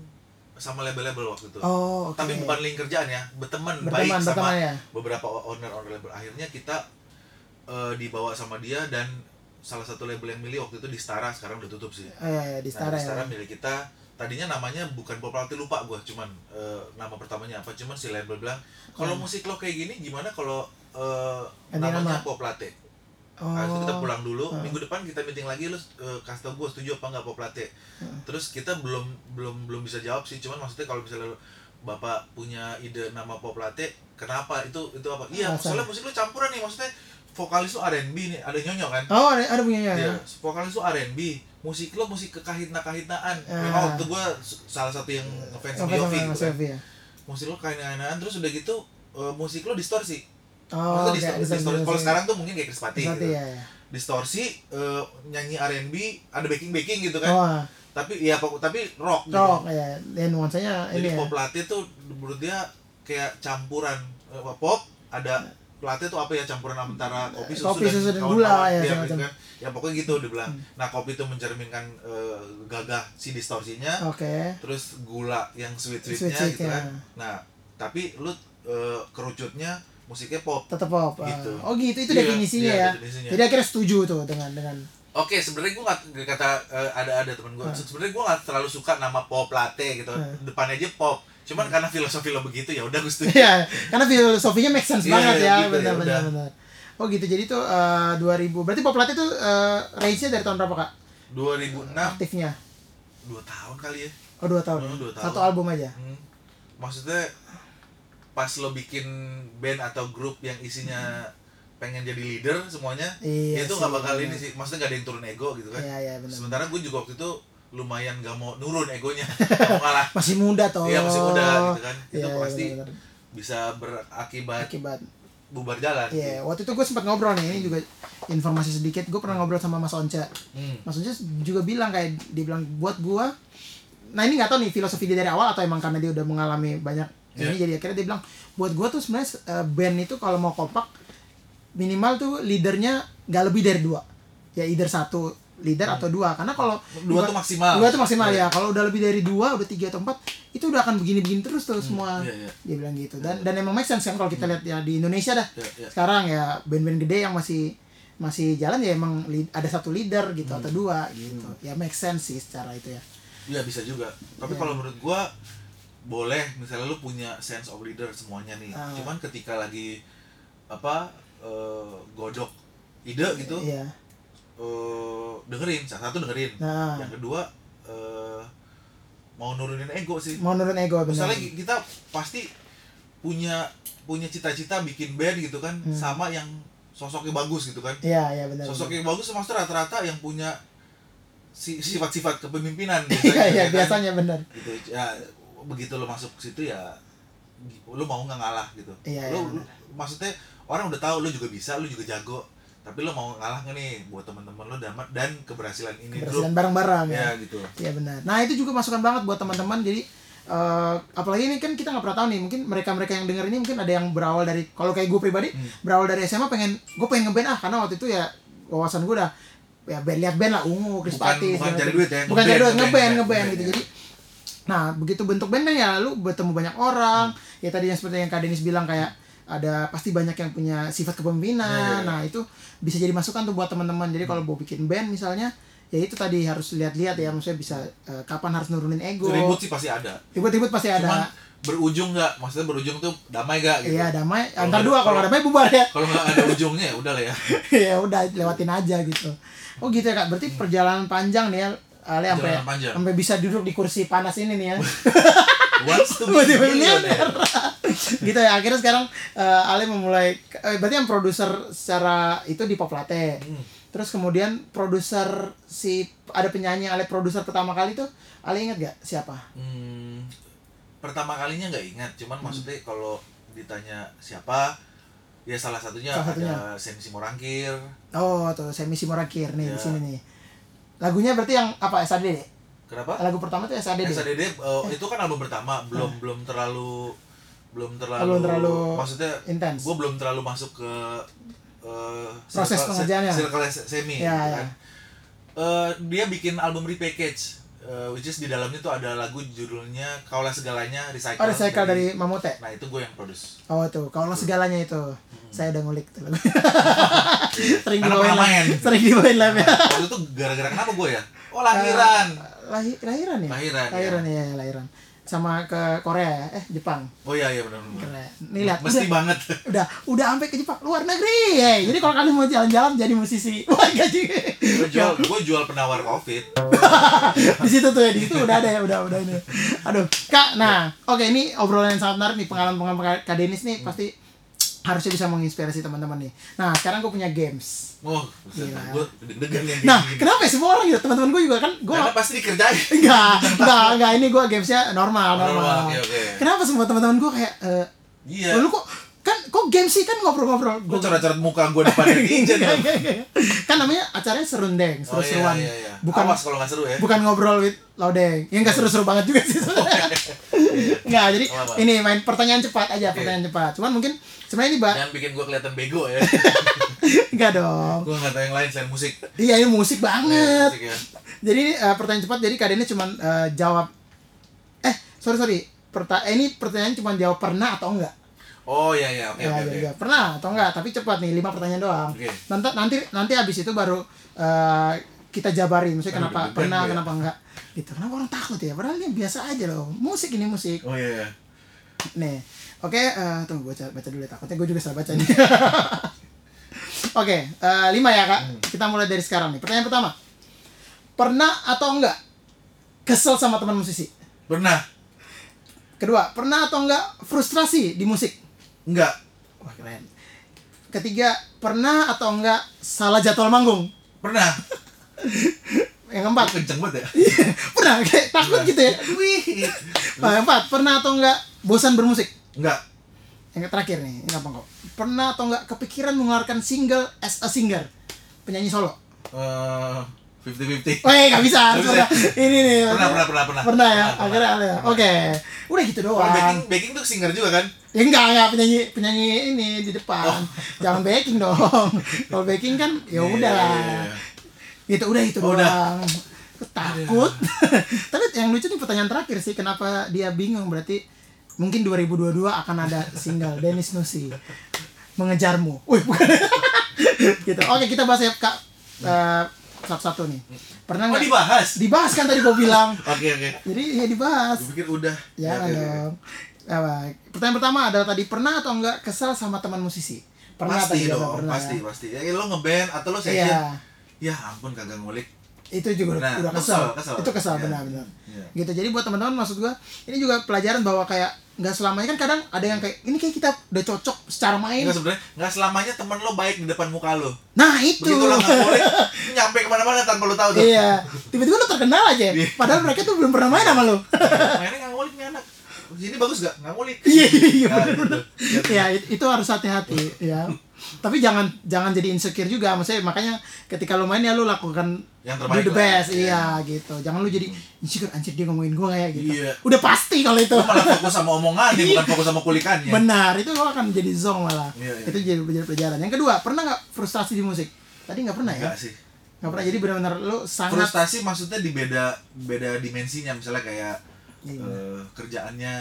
sama label-label waktu itu.
Oh, oke.
Tapi bukan link kerjaan ya, berteman, baik
berteman,
sama
berteman ya.
beberapa owner-owner label. Akhirnya kita eh, dibawa sama dia dan salah satu label yang milih waktu itu di Stara, sekarang udah tutup sih.
Eh, ya, ya, di
Nah,
Stara
di Stara
ya.
milik kita tadinya namanya bukan Pop Latte, lupa gua cuman eh, nama pertamanya apa cuman si label bilang kalau
Hmm.
musik lo kayak gini gimana kalau eh,
Ganti nama."
namanya Pop Latte?
Oh.
Nah, itu kita pulang dulu
Hmm.
minggu depan kita meeting lagi lo eh, kasih tau gue setuju apa nggak Pop Latte.
Hmm.
Terus kita belum belum belum bisa jawab sih cuman maksudnya kalau misalnya lo- Bapak punya ide nama Pop Latte, kenapa itu itu apa? Iya,
Alasan.
soalnya musik lo campuran nih maksudnya vokalis lo R&B nih, ada nyonyo kan?
Oh, ada, ada punya ya.
Iya, vokalis tuh R&B, musik lo musik kekahitna-kahitnaan.
Ah.
Memang waktu gua s- salah satu yang ngefans sama
Apa sama
Yofi
Mas
gitu kan.
Yofi ya?
Musik lo kahitna-kahitnaan terus udah gitu eh, musik lo distorsi.
Oh,
Maksudnya
kayak distorsi-
distor- Oh, distorsi. Kalau
distorsi.
sekarang tuh mungkin kayak Krispati
Distorsi,
gitu.
ya, ya.
distorsi eh, nyanyi R&B ada backing backing gitu kan
Wah,
tapi ya pokok tapi rock, gitu.
Oh. rock ya. Dan nuansanya
jadi
ini ya.
pop latte tuh menurut dia kayak campuran eh, pop ada latte tuh apa ya campuran antara kopi susu,
Kopi, susu, dan
kawan-kawan.
gula, ya,
Iya, gitu
semacam. Hmm.
kan. ya pokoknya gitu dibilang nah kopi itu mencerminkan eh, gagah si distorsinya
Oke.
terus gula yang sweet sweetnya
Oh. Sweet-sweet,
gitu kan
ya.
nah tapi lu eh, kerucutnya musiknya pop
Tetep pop. ah.
Gitu.
Oh gitu, itu
Iya,
definisinya
iya,
ya.
definisinya.
Jadi akhirnya setuju tuh dengan dengan
oke sebenarnya gua nggak kata eh, ada ada temen gua
Hmm.
sebenarnya gua nggak terlalu suka nama pop latte gitu
Hmm.
depannya aja pop cuman karena filosofi lo begitu ya udah gue setuju
Iya, karena filosofinya make sense
Iya,
banget
iya,
ya,
gitu,
benar
ya
benar
udah.
benar. Oh gitu, jadi tuh eh, 2000. Berarti pop latte tuh eh, range-nya dari tahun berapa, Kak?
2006
Aktifnya.
dua tahun kali ya
Oh, 2 tahun.
Hmm, dua tahun.
Satu album aja.
Hmm. maksudnya pas lo bikin band atau grup yang isinya pengen jadi leader semuanya
Iya
ya itu
sih,
nggak bakal ini
benar.
sih maksudnya nggak ada yang turun ego gitu kan
Iya, iya benar.
sementara gue juga waktu itu lumayan gak mau nurun egonya Nggak mau kalah
Masih muda toh.
Iya, masih muda gitu kan. Itu
Iya,
pasti
benar, benar.
bisa berakibat
akibat.
bubar jalan
Iya, waktu itu gue sempat ngobrol nih, ini juga informasi sedikit. Gue pernah ngobrol sama Mas Onca.
Hmm.
Mas Onca juga bilang kayak dia bilang buat gua nah ini nggak tahu nih filosofi dia dari awal atau emang karena dia udah mengalami banyak
Iya.
ini jadi akhirnya dia bilang buat gua tuh sebenarnya eh, band itu kalau mau kompak minimal tuh leadernya nggak lebih dari dua ya either satu leader atau dua karena kalau
Dua tuh maksimal.
dua tuh maksimal
Iya.
ya kalau udah lebih dari dua udah tiga atau empat itu udah akan begini-begini terus tuh semua
iya, Hmm. iya.
dia bilang gitu dan dan emang make sense kan kalau kita lihat ya di Indonesia dah
Iya, iya.
sekarang ya band-band gede yang masih masih jalan ya emang lead- ada satu leader gitu
Hmm.
atau dua gitu ya make sense sih secara itu ya
Iya bisa juga.
Iya.
Tapi kalau menurut gua boleh misalnya lu punya sense of leader semuanya nih.
Ah.
Cuman ketika lagi apa eh, godok ide gitu,
Iya.
eh, dengerin. Satu dengerin.
Nah.
Yang kedua eh, mau nurunin ego sih.
mau nurun ego benar
Misalnya kita pasti punya punya cita-cita bikin band gitu kan
Hmm.
sama yang sosoknya bagus gitu kan.
iya iya benar
Sosok yang bagus maksudnya rata-rata yang punya si- sifat-sifat kepemimpinan
iya iya
ya kan?
biasanya benar
gitu ya begitu lo masuk ke situ ya lo mau nggak ngalah gitu
Iya,
lo,
iya,
lo- maksudnya orang udah tahu lo juga bisa lo juga jago tapi lo mau ngalah nggak nih buat teman-teman lo dan dan keberhasilan ini
keberhasilan bareng-bareng
grup
ya
ya gitu
Iya benar. Nah itu juga masukan banget buat teman-teman. Jadi eh, apalagi ini kan kita nggak pernah tahu nih. Mungkin mereka-mereka yang denger ini mungkin ada yang berawal dari kalau kayak gue pribadi
Hmm.
berawal dari SMA pengen gue pengen ngeband ah karena waktu itu ya wawasan gue udah ya band lihat band lah ungu Krispati
bukan
segala
cari
macam.
duit ya,
bukan
ngeband,
cari duit ngeband
ngeband, ngeband, ya.
ngeband gitu
ngeband,
jadi nah begitu bentuk bandnya ya lu bertemu banyak orang
Hmm.
ya tadi yang seperti yang Kak Denis bilang kayak ada pasti banyak yang punya sifat
Iya,
kepemimpinan nah itu bisa jadi masukan tuh buat teman-teman jadi kalau mau bikin band misalnya ya itu tadi harus lihat-lihat ya maksudnya bisa eh, kapan harus nurunin ego
ribut sih pasti ada
ribut-ribut pasti ada
cuman berujung nggak maksudnya berujung tuh damai gak gitu
iya damai
Kalau
antar
nggak-
dua kalau
kalau-
damai bubar ya
kalau nggak ada ujungnya ya udah lah ya
ya udah lewatin aja gitu oh gitu ya kak berarti perjalanan panjang nih ya Ale sampai
Hmm. Perjalanan panjang.
sampai bisa duduk di kursi panas ini nih ya
once to be
Multi
millionaire.
millionaire. gitu ya akhirnya sekarang eh, Ale memulai eh, berarti yang produser secara itu di Pop Latte
Hmm.
terus kemudian produser si ada penyanyi yang Ale produser pertama kali tuh Ale ingat gak siapa
Hmm, pertama kalinya nggak ingat,
Hmm.
cuman maksudnya kalau ditanya siapa, ya salah satunya
Salah satunya.
ada Sam Simorangkir,
oh tuh Semi Simorakir nih di
Iya.
sini nih lagunya berarti yang apa SAD deh
kenapa?
lagu pertama tuh SAD deh
SADD eh, itu kan album pertama, belum belum terlalu belum terlalu,
Ah. Belum terlalu
maksudnya
intense.
gue belum terlalu masuk ke eh,
Proses
circle-
pengerjaannya.
circle se- semi
Iya,
gitu
iya.
kan. Eh, dia bikin album repackage eh, which is di dalamnya tuh ada lagu judulnya Kaulah Segalanya Recycle.
oh recycle dari Mamute
Nah, itu gue yang produce.
Oh tuh, kaulah segalanya itu.
Hmm.
Saya udah ngulik tuh lagu. sering
Karena
dibawain
pernah
live.
main.
Sering dibawain live ya.
waktu itu gara-gara kenapa gue ya? Oh lahiran.
Eh, Lahir, lahiran ya?
Lahiran,
Lahiran ya, lahiran. Sama ke Korea ya? Eh, Jepang.
Oh iya iya benar benar.
Keren. Nih lihat.
Mesti
Udah,
banget.
udah, udah sampai ke Jepang, luar negeri. Hey, Jadi kalau kalian mau jalan-jalan jadi musisi, wah gaji.
Gue jual gue jual penawar covid.
di situ tuh ya, di situ udah ada ya, udah udah ini. Aduh, Kak, nah, oke ini obrolan yang sangat menarik nih pengalaman-pengalaman Kak Denis nih pasti harusnya bisa menginspirasi teman-teman nih. Nah, sekarang gue punya games.
Oh, gue deg-degan yang
Nah,
gini-gini.
kenapa ya semua orang ya teman-teman gue juga kan gue
Karena pasti dikerjain.
enggak, enggak, enggak ini gue gamesnya normal,
Normal,
normal.
oke, oke.
Kenapa semua teman-teman gue kayak eh
Iya.
"Loh, lu kok kan kok kok game sih kan ngobrol-ngobrol
Gue coret-coret muka gue depan netizen
Iya,
loh.
iya, iya. kan namanya acaranya
Oh,
serundeng seru-seruan
Bukan
bukan
iya, Awas kalau nggak seru ya.
bukan ngobrol with Laudeng yang nggak seru-seru banget juga sih sebenarnya nggak jadi
Oh, iya. Apa-apa. Iya.
ini main pertanyaan cepat aja pertanyaan cepat cuman mungkin sebenarnya ini ba
Jangan bikin gue kelihatan bego ya.
nggak dong
gue nggak tahu yang lain selain musik.
iya ini musik
Iya,
banget
musik ya.
jadi ini eh, pertanyaan cepat jadi kak ini cuma jawab eh sorry sorry Perta eh, ini pertanyaan cuma jawab pernah atau enggak
Oh iya iya oke
ya,
oke
ya,
oke.
ya. pernah atau enggak tapi cepat nih lima pertanyaan doang
Oke.
nanti nanti nanti abis itu baru eh, kita jabarin maksudnya
Aduh,
kenapa
deg-degan
pernah
gue ya.
kenapa enggak gitu kenapa orang takut ya padahal ini biasa aja loh musik ini musik
Oh iya iya.
Nih, oke, eh, tunggu gue baca, baca dulu ya, takutnya gue juga salah baca nih. oke, eh, lima ya kak,
Hmm.
kita mulai dari sekarang nih. Pertanyaan pertama, pernah atau enggak kesel sama teman musisi?
Pernah?
Kedua, pernah atau enggak frustrasi di musik?
Enggak.
Wah keren. Ketiga, pernah atau enggak salah jadwal manggung?
Pernah.
Yang keempat,
Kenceng banget ya.
Iya. pernah kayak takut gitu ya.
Iya. Wih.
Nah, yang keempat, pernah atau enggak bosan bermusik?
Enggak.
Yang terakhir nih, ini gampang kok. Pernah atau enggak kepikiran mengeluarkan single as a singer? Penyanyi solo.
Eh, fifty fifty.
Weh, gak Oh, iya, bisa.
Nggak
harus
bisa.
ada. Ini nih.
Pernah pernah pernah pernah.
Pernah ya? Akhirnya
pernah.
ada. ya? Oke. Udah gitu
Kalau backing
doang.
backing tuh singer juga kan?
Ya enggak, enggak penyanyi penyanyi ini di depan. Jangan backing dong. Kalau backing kan ya
Oh. Iya,
udah lah.
iya, iya.
Gitu udah itu
Oh, udah.
doang. Aku Takut. Tapi yang lucu nih pertanyaan terakhir sih, kenapa dia bingung berarti mungkin 2022 akan ada single Dennis Nusi mengejarmu. Wih, bukan. gitu. Oke, kita bahas ya Kak Eh, satu-satu nih. Pernah
Oh
nggak
dibahas.
dibahas kan tadi gua bilang.
Oke oke.
Jadi ya dibahas.
Gue pikir udah.
Ya
Oke, oke, oke.
dong. Apa? Pertanyaan pertama adalah tadi pernah atau enggak kesal sama teman musisi? Pernah
pasti
tadi kata,
dong,
pernah.
pasti pasti. Ya, lo ngeband atau lo session,
Iya.
ya ampun kagak ngulik.
Itu juga udah-
Nah,
udah
kesel,
kesal.
kesel.
Itu kesal
Iya.
benar-benar.
Iya.
Gitu. Jadi buat teman-teman maksud gua ini juga pelajaran bahwa kayak nggak selamanya kan kadang ada yang kayak ini kayak kita udah cocok secara main.
Enggak sebenarnya, enggak selamanya teman lo baik di depan muka lo.
Nah, itu.
Begitu lo nggak ngulik, nyampe kemana-mana tanpa lo tahu tuh.
Iya, tiba-tiba lu terkenal aja.
Iya.
Padahal mereka tuh belum pernah main sama lu.
Mainnya nggak ngulik nih anak. Ini bagus gak? Nggak ngulik.
Iya, iya, iya,
Nah,
bener-bener.
gitu.
ya it- itu harus hati-hati ya tapi jangan jangan jadi insecure juga maksudnya makanya ketika lu main ya lu lakukan
Yang terbaik
do the
lah.
best
Iya.
iya gitu jangan lu jadi insecure anjir dia ngomongin gua nggak ya gitu
Iya.
udah pasti kalau itu
Lo malah fokus sama omongannya, bukan fokus sama kulikannya.
benar itu lo akan jadi zong malah
Iya, iya.
itu jadi jadi pelajaran yang kedua pernah nggak frustrasi di musik tadi nggak pernah ya
Enggak sih.
nggak pernah jadi benar-benar lu sangat
Frustasi maksudnya di beda beda dimensinya, misalnya kayak
Iya.
eh, kerjaannya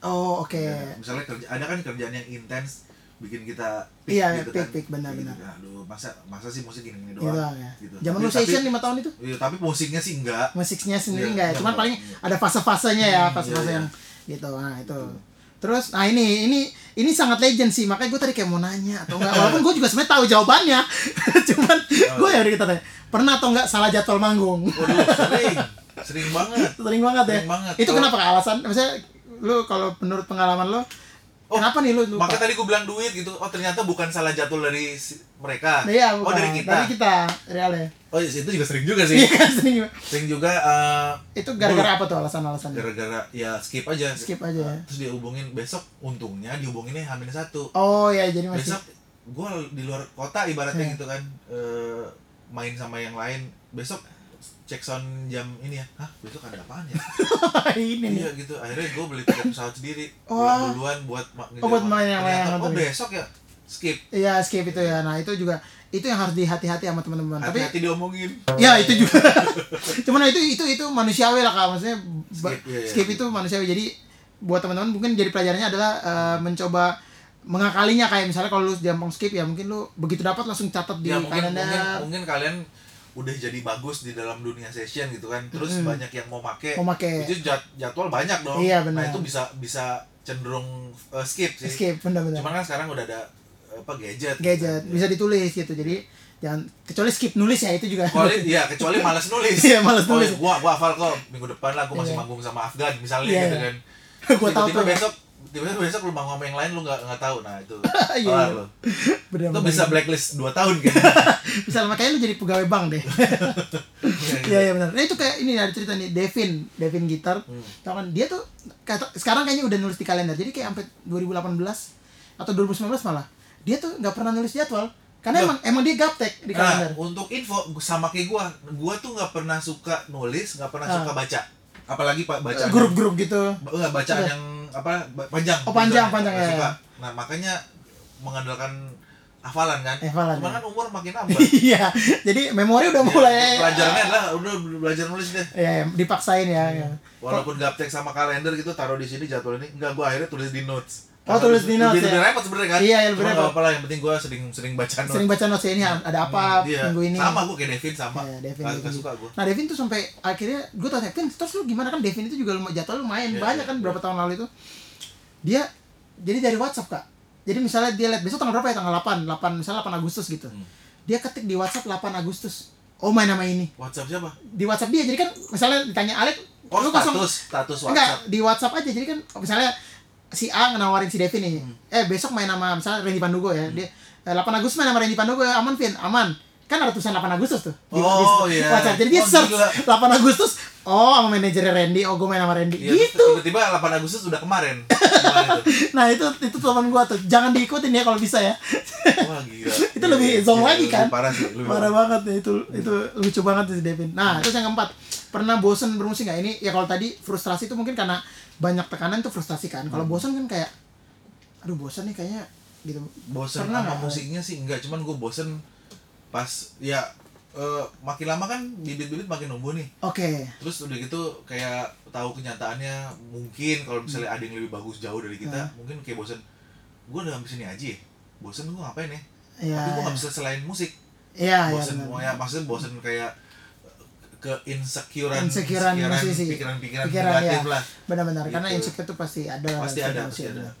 oh oke
Ya, misalnya kerja ada kan kerjaan yang intens bikin kita
Iya, peak, peak, benar,
Kayak gitu,
benar.
aduh masa masa sih musik gini gini
gitu
doang
ya
gitu.
zaman
Tapi-
lu session
tapi-
lima tahun itu
iya, tapi musiknya sih enggak
musiknya sendiri
Iya,
enggak ya
iya,
cuman
iya.
paling ada fase-fasenya ya fase-fase
iya, iya.
yang gitu nah itu terus nah ini ini ini sangat legend sih makanya gue tadi kayak mau nanya atau enggak walaupun gue juga sebenarnya tahu jawabannya cuman
Iya.
gue ya udah kita tanya pernah atau enggak salah jadwal manggung
waduh sering sering banget
sering banget ya
Sering banget.
itu
Kalau-
kenapa Kak? alasan maksudnya lu kalau menurut pengalaman lu
Oh,
kenapa nih lu lupa?
makanya tadi gue bilang duit gitu oh ternyata bukan salah jatuh dari si- mereka
Nah, iya,
oh
bukan.
dari kita
dari kita real ya
oh iya, itu juga sering juga
iya
sih
kan sering banget.
sering juga eh,
itu gara-gara apa tuh alasan-alasannya
gara-gara ya skip aja
skip aja ya
terus dihubungin besok untungnya dihubunginnya hamin satu
oh ya jadi masih
besok gue di luar kota ibaratnya
Iya.
gitu kan Eh, main sama yang lain besok cek sound jam ini ya hah besok ada apaan ya
ini nih
iya gitu akhirnya gue beli tiket pesawat sendiri
Oh.
pulang duluan buat ma- ngejar
buat
ma-
main yang
ternyata,
lain,
oh
nonton.
besok ya skip
Iya skip itu ya. Nah itu juga itu yang harus dihati-hati sama teman-teman. Tapi
hati-hati diomongin
ya itu juga. Cuman itu itu itu manusiawi lah kak. Maksudnya ba-
Skip, iya, iya.
skip itu manusiawi. Jadi buat teman-teman mungkin jadi pelajarannya adalah eh, mencoba mengakalinya kayak misalnya kalau lu gampang skip ya mungkin lu begitu dapat langsung catat di
ya mungkin
kalender.
mungkin mungkin kalian udah jadi bagus di dalam dunia session gitu kan terus
Mm-mm.
banyak yang mau make
Mau make.
itu jad- jadwal banyak dong
Iya,
nah
benar.
itu bisa bisa cenderung eh, skip sih
Skip benar-benar.
cuman kan sekarang udah ada apa gadget gitu
Gadget
kan.
bisa ditulis gitu. Jadi jangan kecuali skip nulis ya itu juga.
kecuali ya kecuali malas nulis
Iya, malas
Oh,
nulis.
gua gua hafal kok minggu depan lah gua masih
Iya.
manggung sama Afgan misalnya
Iya,
gitu
iya.
kan
Gua tahu
tiba-tiba
tuh.
besok tiba-tiba besok lu manggung sama yang lain lu nggak nggak tahu nah itu
Iya,
kelar
iya.
lu
Benar-benar.
itu bisa blacklist 2 tahun gitu
bisa makanya lu jadi pegawai bank deh
Iya,
iya iya benar nah itu kayak ini ada cerita nih Devin Devin
Hmm.
gitar tau kan dia tuh kata, sekarang kayaknya udah nulis di kalender jadi kayak sampai 2018 atau 2019 malah dia tuh nggak pernah nulis jadwal karena
Loh.
emang emang dia gaptek di
Nah,
kalender
untuk info sama kayak gua, gua tuh nggak pernah suka nulis, nggak pernah
Ah.
suka baca. Apalagi Pak baca
grup-grup gitu
Enggak, bacaan
Iya.
yang apa ba- panjang.
Oh, panjang,
Nggak
panjang, ya,
suka.
ya.
Nah, makanya mengandalkan hafalan kan.
Hafalan,
Cuman
ya.
kan umur makin nambah.
iya jadi memori udah
Ya,
mulai
Pelajarannya Iya. adalah udah belajar nulis deh.
ya, ya, dipaksain ya, ya.
Walaupun gaptek sama kalender gitu taruh di sini jadwal ini enggak gua akhirnya tulis di notes.
Oh, tulis di notes,
lebih, lebih
ya.
repot sebenarnya kan.
Iya, iya, lebih
Cuma
repot.
nggak apa-apa lah, yang penting gua sering sering baca notes.
sering baca notes ini ada apa
Iya.
minggu ini
Sama gua kayak Devin sama.
Iya, Devin
Nggak-
juga
nggak
gitu.
suka gua.
Nah Devin tuh sampai akhirnya gue tanya Devin terus lu gimana kan Devin itu juga lum- jadwal lumayan
Iya,
banyak
iya,
kan
iya.
berapa tahun lalu itu dia jadi dari WhatsApp kak jadi misalnya dia lihat besok tanggal berapa ya tanggal 8 8 misalnya 8 Agustus gitu
Hmm.
dia ketik di WhatsApp 8 Agustus oh main nama ini
WhatsApp siapa?
di WhatsApp dia jadi kan misalnya ditanya Alek
Oh,
lu kosong
status, status
enggak
WhatsApp.
di WhatsApp aja jadi kan misalnya si A nawarin si Devin
Hmm.
nih eh besok main sama misalnya Randy Pandugo ya dia eh, 8 Agustus main sama Randy Pandugo ya aman Vin aman kan ada tulisan 8 Agustus tuh di,
Oh,
di-
iya.
WhatsApp jadi dia
Oh,
search
gila.
8 Agustus oh sama manajernya Randy oh gue main sama Randy
Iya, terus
gitu
Tiba-tiba 8 Agustus udah kemarin. Gimana itu?
nah itu itu teman gua tuh jangan diikutin ya kalau bisa ya
Wah, gila. Iya,
Itu lebih zonk lagi,
lebih
kan?
Parah sih, lebih
parah banget ya itu itu lucu banget sih si Devin nah terus yang keempat pernah bosen bermusik nggak ini ya kalau tadi frustrasi itu mungkin karena banyak tekanan tuh frustrasi kan
Hmm.
kalau bosen kan kayak aduh bosen nih kayaknya gitu
bosen
Pernah
sama
nggak?
musiknya sih enggak cuman gue bosen pas ya eh, makin lama kan bibit-bibit makin numbuh nih
oke
terus udah gitu kayak tahu kenyataannya mungkin kalau
Hmm.
misalnya ada yang lebih bagus jauh dari kita
Nah.
mungkin kayak bosen gue udah sampai sini aja ya bosen gue ngapain ya
ya
tapi gue nggak bisa selain musik
ya ya
bosen
benar.
mau ya maksudnya bosen kayak ke insecurean
Insecurean musisi.
pikiran-pikiran
Pikiran,
negatif
ya.
lah
benar-benar
Gitu.
karena insecure itu pasti ada lah,
Pasti
insecure
ada,
manusia,
pasti ada.
benar.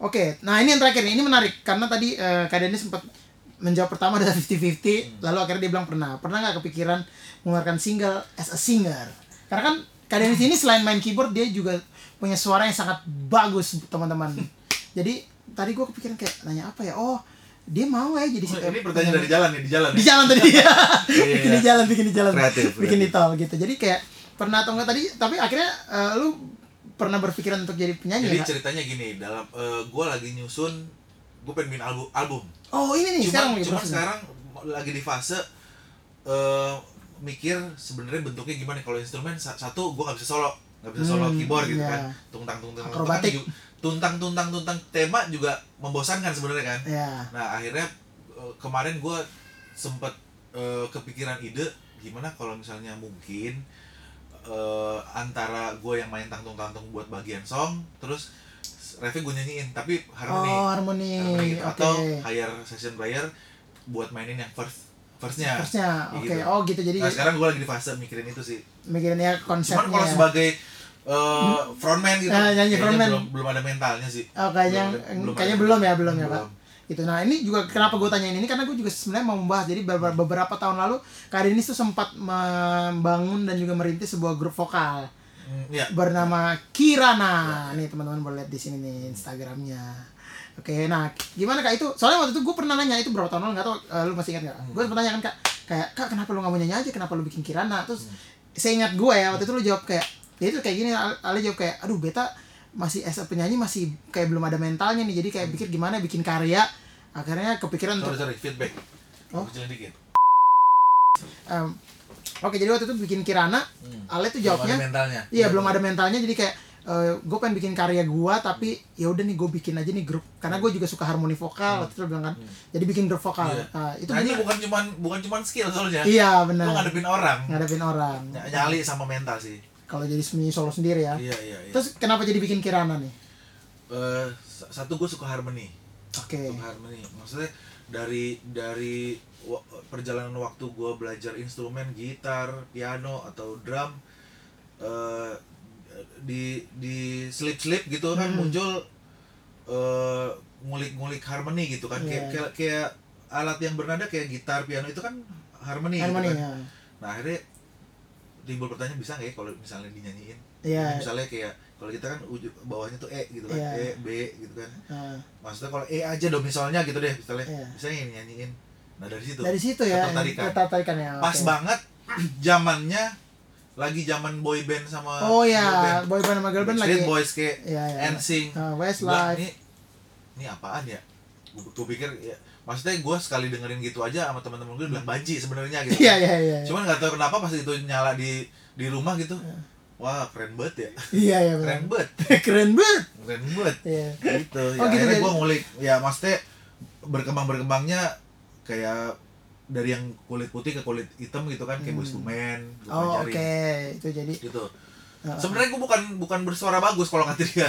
oke nah ini yang terakhir nih, ini menarik karena tadi eh, Kak Denny sempat menjawab pertama ada 50-50 lalu akhirnya dia bilang pernah pernah nggak kepikiran mengeluarkan single as a singer karena kan Kak Denny ini selain main keyboard dia juga punya suara yang sangat bagus teman-teman jadi tadi gue kepikiran kayak nanya apa ya oh dia mau ya jadi si-
Oh, ini pertanyaan dari jalan nih di jalan
di
ya?
jalan tadi ya bikin di
Iya.
jalan bikin di jalan
Kreatif,
bikin di
kreatif.
tol gitu jadi kayak pernah atau enggak tadi tapi akhirnya eh, lu pernah berpikiran untuk jadi penyanyi
Jadi
ya, Kak?
ceritanya gini, dalam gue lagi nyusun, gue pengen bikin album. album.
oh ini nih sekarang
Cuma,
lagi
cuma
proses.
sekarang lagi di fase eh, mikir sebenarnya bentuknya gimana kalau instrumen sa- satu gue nggak bisa solo, nggak bisa solo
Hmm,
keyboard gitu
iya.
kan, tuntang tuntang
Akrobatik.
tuntang tuntang tuntang tema juga membosankan sebenarnya kan.
ya
Nah akhirnya eh, kemarin gue sempet eh, kepikiran ide gimana kalau misalnya mungkin eh, antara gue yang main tangtung-tangtung buat bagian song, terus Revi gue nyanyiin tapi
oh
harmoni,
harmoni
harmoni gitu.
oke
atau hire session player buat mainin yang first firstnya.
terusnya oke
gitu.
oh gitu jadi
Nah sekarang gue lagi di fase mikirin itu sih.
mikirin ya konsepnya
Cuman kalau sebagai eh, frontman gitu,
Nah, nyanyi
kayaknya
frontman.
belum, belum ada mentalnya sih.
Oh, kayaknya
Belum- belum
kayaknya
ada.
belum ya belum ya pak
Belum.
gitu nah ini juga kenapa gue tanyain ini karena gue juga sebenarnya mau membahas jadi beberapa, beberapa tahun lalu Kak Denis tuh sempat membangun dan juga merintis sebuah grup vokal
Hmm, Iya.
bernama Kirana nih teman-teman boleh lihat di sini nih Instagramnya oke nah gimana kak itu soalnya waktu itu gue pernah nanya itu berapa tahun lalu nggak tau eh, lu masih ingat nggak
Hmm.
gue sempat nanya kan kak kayak kak kenapa lu nggak mau nyanyi aja kenapa lu bikin Kirana terus
Hmm.
seingat gue ya waktu itu lu jawab kayak ya itu kayak gini Ale Ale jawab kayak aduh beta masih as a penyanyi masih kayak belum ada mentalnya nih jadi kayak
Hmm.
pikir gimana bikin karya akhirnya kepikiran untuk
Sorry sorry feedback.
Oh.
Oh. Kecilin dikit.
em, oke jadi waktu itu bikin Kirana
Hmm.
Ale tuh
Belum
jawabnya
ada mentalnya.
Iya belum ada mentalnya jadi kayak gue pengen bikin karya gua tapi ya udah nih gue bikin aja nih grup karena gue juga suka harmoni vokal waktu itu lu bilang kan jadi bikin grup vokal
Hmm. Iya.
Nah, itu
Nah, ini
bener.
bukan cuman bukan cuman skill soalnya.
iya
Lu
benar
ngadepin orang.
ngadepin orang
Ny- Nyali sama mental sih.
kalau jadi semi solo sendiri ya
Iya iya iya.
terus kenapa jadi bikin kirana nih
Eh, sa- satu gue suka harmony.
oke
Suka harmony. Maksudnya dari dari wa- perjalanan waktu gue belajar instrumen gitar, piano atau drum eh di di slip-slip gitu kan
Hmm.
muncul eh, ngulik-ngulik harmony gitu kan
Iya.
Kayak- kayak kayak alat yang bernada kayak gitar, piano itu kan harmony, gitu
harmoni
kan.
ya
Nah akhirnya timbul pertanyaan bisa nggak ya kalau misalnya dinyanyiin?
Iya.
Misalnya kayak kalau kita kan uju, bawahnya tuh E gitu kan,
Iya.
E, B gitu kan.
Nah,
Maksudnya kalau E aja dong misalnya gitu deh, misalnya
Iya.
bisa nggak nyanyiin. Nah dari situ.
dari situ ya
ketertarikan.
ketertarikan ya
Pas
oke.
banget zamannya lagi zaman boy band sama
oh
girl
ya
band.
boyband sama girlband lagi
Backstreet Boys kayak
Iya, iya.
NSYNC.
Nah,
Gua
Westlife
ini ini apaan ya gue pikir ya, maksudnya gue sekali dengerin gitu aja sama teman-teman gue bilang banci sebenarnya gitu
Iya, iya, iya.
cuman nggak tahu kenapa pas itu nyala di di rumah gitu wah keren banget ya
Iya, iya, benar.
keren banget
Keren banget.
keren banget
Iya.
gitu ya
Oh, gitu,
akhirnya
jadi-
gue ngulik ya maksudnya berkembang berkembangnya kayak dari yang kulit putih ke kulit hitam gitu kan kayak
Hmm.
Boyz II Men, gua
Oh, oke.
pelajarin.
Itu jadi eh,
gitu
Heeh.
sebenarnya gue bukan bukan bersuara bagus kalau kata dia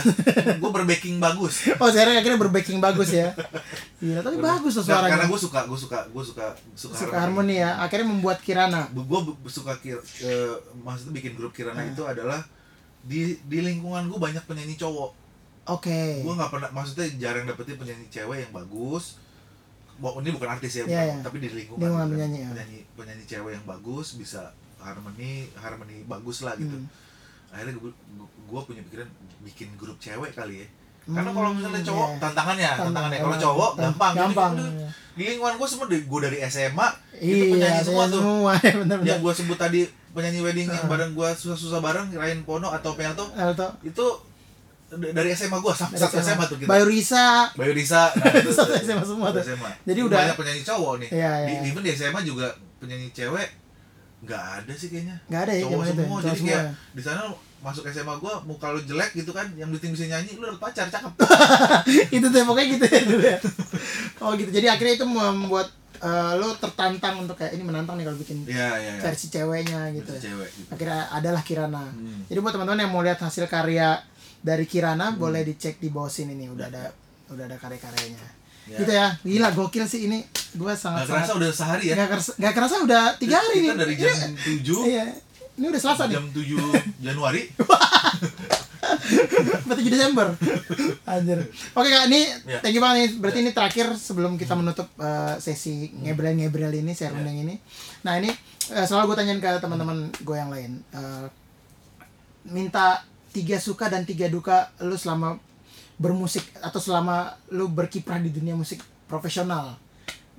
gue berbacking bagus
Oh, sekarang akhirnya berbacking bagus ya. Gila, tapi bagus tuh
Nah, karena
suaranya.
gue suka gue suka gue suka suka,
Suka harmoni ya. Akhirnya membuat Kirana.
gue suka kir eh, maksudnya bikin grup kirana
Ah.
itu adalah di di lingkungan gue banyak penyanyi cowok
Oke.
gue nggak pernah maksudnya jarang dapetin penyanyi cewek yang bagus Wah, ini bukan artis
Iya,
ya, bukan,
iya.
tapi di lingkungan
Lingkungan
gitu.
penyanyi, ya.
penyanyi penyanyi cewek yang bagus bisa harmoni harmoni bagus lah gitu
Hmm.
akhirnya gue gue punya pikiran bikin grup cewek kali ya
Hmm,
karena kalau misalnya cowok
iya.
tantangannya
Tantang-
tantangannya kalau
emang,
cowok
tan-
gampang Jadi
Gampang.
udah, di lingkungan gue semua dari gue dari SMA itu
Iya,
penyanyi
itu
semua tuh Iya.
semua ya benar-benar.
yang gue sebut tadi penyanyi wedding yang bareng gue susah-susah bareng Ryan Pono atau Pelto
Alto.
itu d- dari SMA gue sama satu SMA tuh gitu? kita
Bayu Risa.
Bayu Risa nah, itu-
Satu SMA semua
satu
tuh.
SMA.
Jadi
Ini
udah-
banyak penyanyi cowok nih
Iya, iya.
di, even di SMA juga penyanyi cewek nggak ada sih kayaknya
Nggak ada ya
cowok
zaman itu,
semua
cowok
jadi
semua
kayak
ya.
di sana masuk SMA gue muka lu jelek gitu kan yang penting bisa nyanyi lu dapet pacar cakep
itu tuh pokoknya gitu ya dulu ya. Oh gitu. Jadi akhirnya itu membuat eh, lo tertantang untuk kayak ini menantang nih kalau bikin
iya iya iya.
versi ceweknya gitu.
Versi cewek gitu.
Akhirnya adalah Kirana.
Hmm.
Jadi buat teman-teman yang mau lihat hasil karya dari Kirana boleh dicek di bawah sini nih udah ada udah ada karya-karyanya.
Ya.
Gitu ya. Gila gokil sih ini. Gue
nggak
sangat
kerasa udah sehari ya
Gak kerasa, gak kerasa udah tiga hari
kita
nih.
dari
Iya.
jam tujuh
Iya. Ini udah Selasa nih,
jam 7 Januari
berarti 7 Desember. Anjir. Oke Kak, ini
Iya.
thank you banget nih. Berarti ini terakhir sebelum kita menutup eh, sesi ngebrel-ngebrel ini, share yang ini. Nah, ini eh, selalu gue tanyain ke teman-teman gue yang lain. Eh, minta tiga suka dan tiga duka lu selama bermusik atau selama lu berkiprah di dunia musik profesional.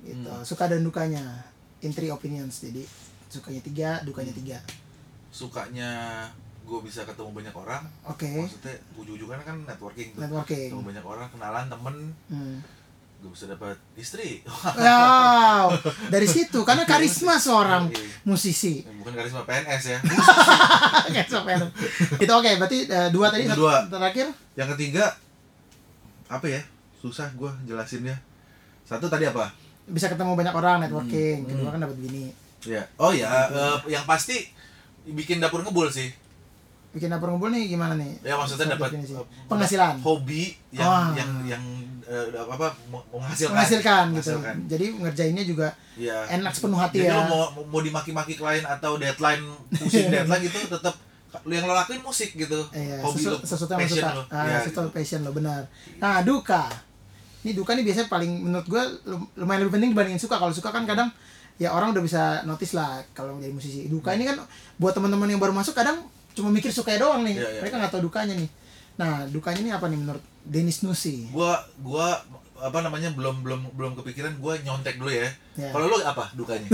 Gitu. Suka dan dukanya. In three opinions. Jadi sukanya tiga, dukanya tiga.
sukanya gue bisa ketemu banyak orang
Oke.
maksudnya ujung-ujungan kan networking tuh
Hmm. Networking.
ketemu banyak orang kenalan temen
Hmm.
gue bisa dapat istri
Wow, dari situ karena karisma seorang
Iya.
musisi.
bukan karisma PNS ya
Oke, sampai lu. Itu oke, berarti eh, dua tadi
Itu dua.
satu terakhir.
yang ketiga apa ya susah gue jelasinnya satu tadi apa
bisa ketemu banyak orang networking,
Hmm,
kedua kan dapat bini.
ya oh ya eh, yang pasti bikin dapur ngebul sih
Bikin dapur ngumpul nih gimana nih?
ya
Satu
maksudnya dapat
definisi.
eh,
penghasilan.
hobi yang
Wah.
yang yang eh, apa menghasilkan
Menghasilkan gitu.
Menghasilkan.
Jadi ngerjainnya juga
Iya.
enak sepenuh hati
Jadi
ya.
lo mau mau dimaki-maki klien atau deadline pusing deadline itu tetap lu yang lo lakuin musik gitu.
Iya,
Hobi
sesu-
lo,
sesuatu yang lo
passion
suka.
lo.
Ah,
Iya,
sesuatu
gitu.
passion lo benar. Nah, duka. Ini duka nih biasanya paling menurut gue lumayan lebih penting dibandingin suka. Kalau suka kan kadang ya orang udah bisa notice lah kalau jadi musisi. Duka ini kan buat teman-teman yang baru masuk kadang cuma mikir sukanya doang nih.
Iya, iya.
Mereka nggak tahu dukanya nih. Nah, dukanya ini apa nih menurut Denis Nusi?
Gua gua apa namanya belum belum belum kepikiran gua nyontek dulu ya.
Iya.
Kalau lo apa dukanya?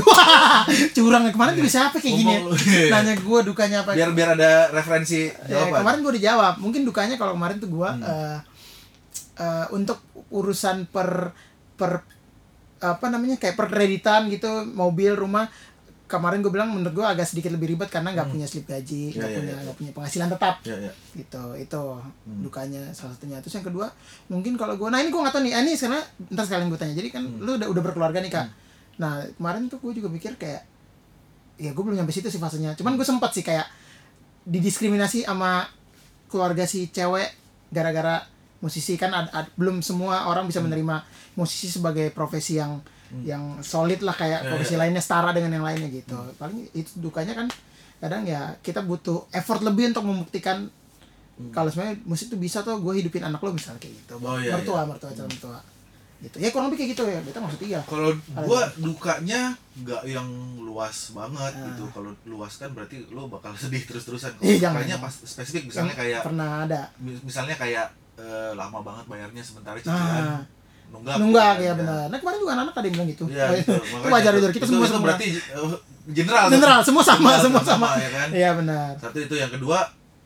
Curang kemarin juga siapa kayak gini ya?
Ngomong lu. Iya,
Nanya gue dukanya apa?
biar biar ada referensi
Ya,
jawaban.
kemarin gue udah jawab. Mungkin dukanya kalau kemarin tuh gue
Hmm.
eh, eh, untuk urusan per per apa namanya kayak perkreditan gitu mobil rumah kemarin gue bilang menurut gue agak sedikit lebih ribet karena nggak punya slip gaji
Ya,
nggak
ya,
punya
ya, ya.
nggak punya penghasilan tetap
Ya, ya.
gitu itu dukanya salah satunya terus yang kedua mungkin kalau gue nah ini gue nggak tahu nih eh, ini karena ntar sekalian gue tanya jadi kan lu udah udah berkeluarga nih kak nah kemarin tuh gue juga mikir kayak ya gue belum nyampe situ sih fasenya cuman gue sempat sih kayak didiskriminasi sama keluarga si cewek gara-gara musisi kan ad- ad- belum semua orang bisa menerima musisi sebagai profesi yang yang solid lah kayak
Ya,
profesi lainnya setara dengan yang lainnya gitu paling itu dukanya kan kadang ya kita butuh effort lebih untuk membuktikan kalau sebenarnya musik tuh bisa tuh gue hidupin anak lo misalnya kayak gitu
Oh, iya,
mertua mertua calon mertua gitu ya kurang lebih kayak gitu ya beta maksud tiga
Kalau gua dukanya nggak yang luas banget
Ah.
gitu. Kalau luas kan berarti lo bakal sedih terus-terusan. Kalau
Ih, Iya, jangan,
dukanya
jangan. Iya.
pas spesifik misalnya kayak
pernah ada
mis- misalnya kayak eh, lama banget bayarnya sementara
Ah.
cicilan nunggak
nunggak
gitu
ya
kan.
benar nah kemarin juga anak-anak ada yang bilang gitu
Iya, gitu.
itu
Makanya
wajar
itu-
wajar kita
itu-
semua
itu
semua
berarti eh, general.
general semua sama
General,
semua sama
ya kan.
iya benar
Satu itu yang kedua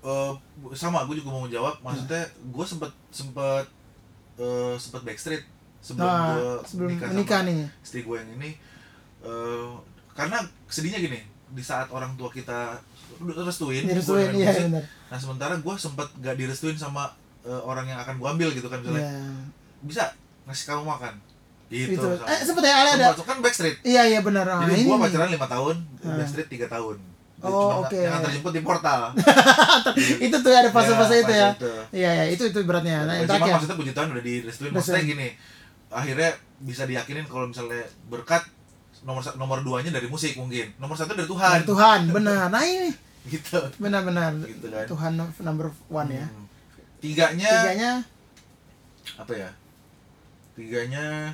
eh, sama gue juga mau jawab maksudnya gue sempet sempet eh, sempat backstreet sebelum
Nah,
gue
sebelum
nikah,
menikah
sama
nih.
istri gue yang ini eh, karena sedihnya gini di saat orang tua kita restuin, gua
Direstuin,
dengerin
iya
musik,
benar.
nah sementara gue sempat gak direstuin sama eh, orang yang akan gue ambil gitu kan misalnya
Iya.
bisa ngasih kamu makan gitu
Itu.
misalnya.
Eh, sempet ya, ada ada.
Sempat, kan backstreet
Iya, iya benar. Nah,
jadi
ini.
gue
nih.
pacaran lima tahun
Ah.
backstreet tiga tahun Jadi
Oh,
cuma
oke.
yang antar jemput di portal
itu tuh ada fase-fase
Ya,
itu ya.
itu.
Iya, ya, itu itu beratnya. Nah, yang
Cuma
terakhir.
maksudnya puji Tuhan udah direstuin
Udah
Maksudnya
sering.
gini Akhirnya bisa diyakinin kalau misalnya berkat Nomor sa- nomor duanya dari musik mungkin Nomor satu dari
Dari
Tuhan
Ah, Tuhan, benar. Nah, ini
Gitu
benar-benar
Gitu kan.
Tuhan no- number one ya.
Hmm. Tiganya
Tiganya
Apa ya Tiganya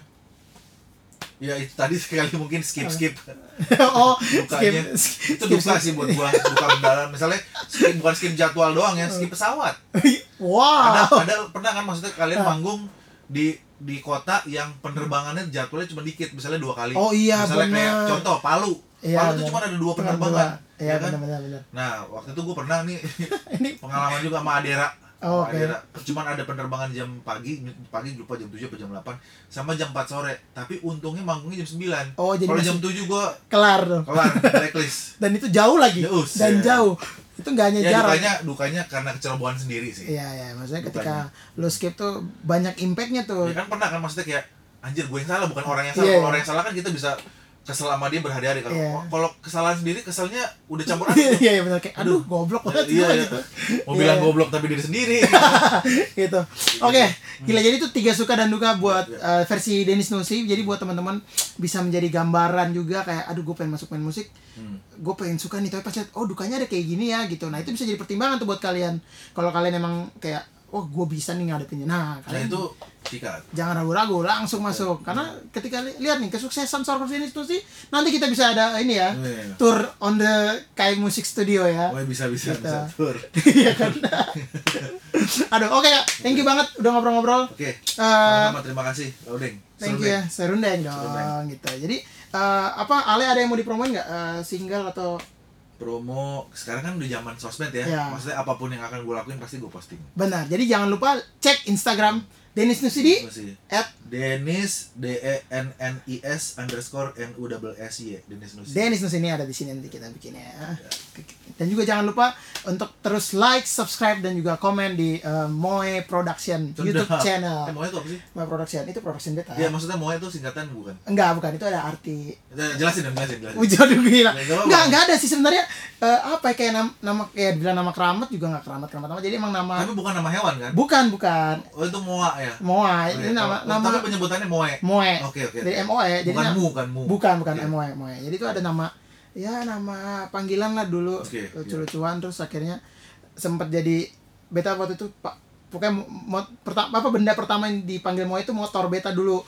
Ya itu tadi sekali mungkin skip-skip
oh, skip,
Dukanya
skip,
Itu duka sih buat gua Duka mendalam Misalnya skip, bukan skip jadwal doang ya Skip pesawat ada,
Wow.
ada pernah kan maksudnya kalian
Ah.
manggung di di kota yang penerbangannya jadwalnya cuma dikit misalnya dua kali
Oh iya,
misalnya kayak
bener.
contoh Palu
Iya,
Palu tuh
bener.
cuma ada dua penerbangan
Iya,
ya kan?
benar-benar benar.
nah waktu itu gue pernah nih
Ini
pengalaman juga sama Adera
Oh,
Sama
oke.
Adera cuma ada penerbangan jam pagi pagi lupa jam 7 atau jam 8 sama jam 4 sore tapi untungnya manggungnya jam 9
Oh, jadi
kalau
masih-
jam 7 gue
kelar tuh.
kelar blacklist
Dan itu jauh lagi.
Jauh,
Dan
ya.
jauh. Itu enggak hanya
ya
jarak.
dukanya dukanya karena kecerobohan sendiri sih
Iya, iya, maksudnya ketika lo skip tuh banyak impactnya tuh.
Ya kan pernah kan maksudnya kayak anjir gue yang salah bukan orang yang salah.
Iya,
Kalau
iya.
orang yang salah kan kita bisa kesel sama dia berhari-hari kalau
Iya.
kalau kesalahan sendiri keselnya udah campur
Iya,
aduk.
iya, iya, benar kayak aduh
Aduh.
goblok
Nah,
banget
iya,
gua
iya.
gitu.
Mau
Iya.
bilang goblok tapi diri sendiri.
gitu. Oke, gila jadi itu tiga suka dan duka buat
Iya.
uh, versi Denis Nusi. Jadi buat teman-teman bisa menjadi gambaran juga kayak aduh gue pengen masuk main musik.
Hmm.
Gue pengen suka nih tapi pas liat, oh dukanya ada kayak gini ya gitu. Nah, itu bisa jadi pertimbangan tuh buat kalian. Kalau kalian emang kayak oh gue bisa nih ngadepinnya. Nah,
nah
kalian
itu Iya. sikat.
jangan ragu-ragu langsung masuk karena ketika li- lihat nih kesuksesan Sorkers ini tuh sih nanti kita bisa ada ini ya
Iya.
tour on the Kai Music Studio ya
Gue bisa bisa
Kita.
bisa tur.
Iya kan? Aduh, oke Kak. Thank you banget udah ngobrol-ngobrol.
Oke.
Eh,
Iya. Sama-sama, terima kasih Laudeng.
thank
Seru
you
deh.
ya. Serundeng dong
Serundeng.
gitu. Jadi eh, apa Ale ada yang mau dipromoin nggak Eh, single atau
Promo sekarang kan udah zaman sosmed ya.
Iya.
Maksudnya apapun yang akan gue lakuin pasti gue posting.
benar. Jadi jangan lupa cek Instagram Dennis Nusidi
Masih.
at
Denis D E N N I S underscore N U double S Y Denis Nusi.
Dennis Nusidi ada di sini nanti kita bikin ya. Dan juga jangan lupa untuk terus like, subscribe dan juga komen di eh, Moe Production
Sudah.
YouTube
Eh,
channel. Ah.
mau itu apa sih?
Moe Production itu production beta.
Ya maksudnya mau itu singkatan bukan?
Enggak, bukan itu ada arti
Ya, Jelasin dong, jelasin, jelasin.
Wujud aduh, gila.
Ya, nggak apa-apa.
Oh, iya. Enggak, enggak ada sih sebenarnya eh, apa ya, kayak nam- nama kayak bilang nama keramat juga enggak keramat keramat amat. Jadi emang nama
Tapi bukan nama hewan kan?
bukan bukan
Oh itu moa ya?
Moa.
Oh, iya.
Nah, Ini nama
Oh,
nama
Tapi penyebutannya moe.
Moe.
Oke, oke.
Dari MOE. Jadi
Bukan
nama-
mu, bukan mu.
bukan bukan
Iya.
MOE, MOE. Jadi itu ada nama ya nama panggilan lah dulu
Oke, iya.
lucu-lucuan terus akhirnya sempat jadi beta waktu itu Pak pokoknya mo- mo- perta- apa benda pertama yang dipanggil Moe itu motor beta dulu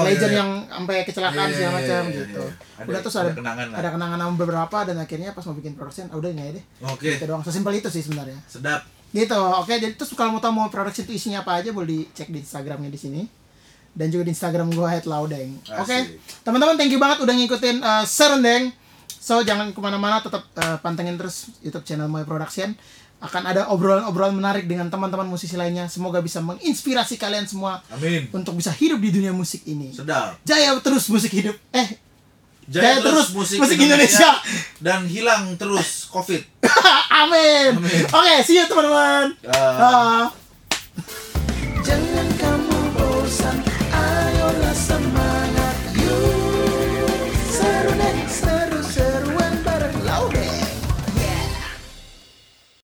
Yang legend
iya, iya.
yang sampai kecelakaan
Iya,
segala
iya,
macam
iya, iya,
gitu
iya. Ada-
udah terus
ada
ada
kenangan lah.
ada kenangan sama beberapa dan akhirnya pas mau bikin production ah, udah ini aja deh
Oke.
itu doang sesimpel itu sih sebenarnya
Sedap.
gitu oke jadi terus kalau mau tahu mau production itu isinya apa aja boleh dicek di instagramnya di sini dan juga di instagram gua @laudeng oke
Asik.
teman-teman thank you banget udah ngikutin uh, serendeng so jangan kemana-mana tetap uh, pantengin terus youtube channel my production akan ada obrolan-obrolan menarik dengan teman-teman musisi lainnya semoga bisa menginspirasi kalian semua
Amin.
untuk bisa hidup di dunia musik ini
Sedap.
jaya terus musik hidup eh Jaya terus musik Indonesia.
dan hilang terus Covid.
Amin. Oke, see you teman-teman. Ah.
Dah.
Dah.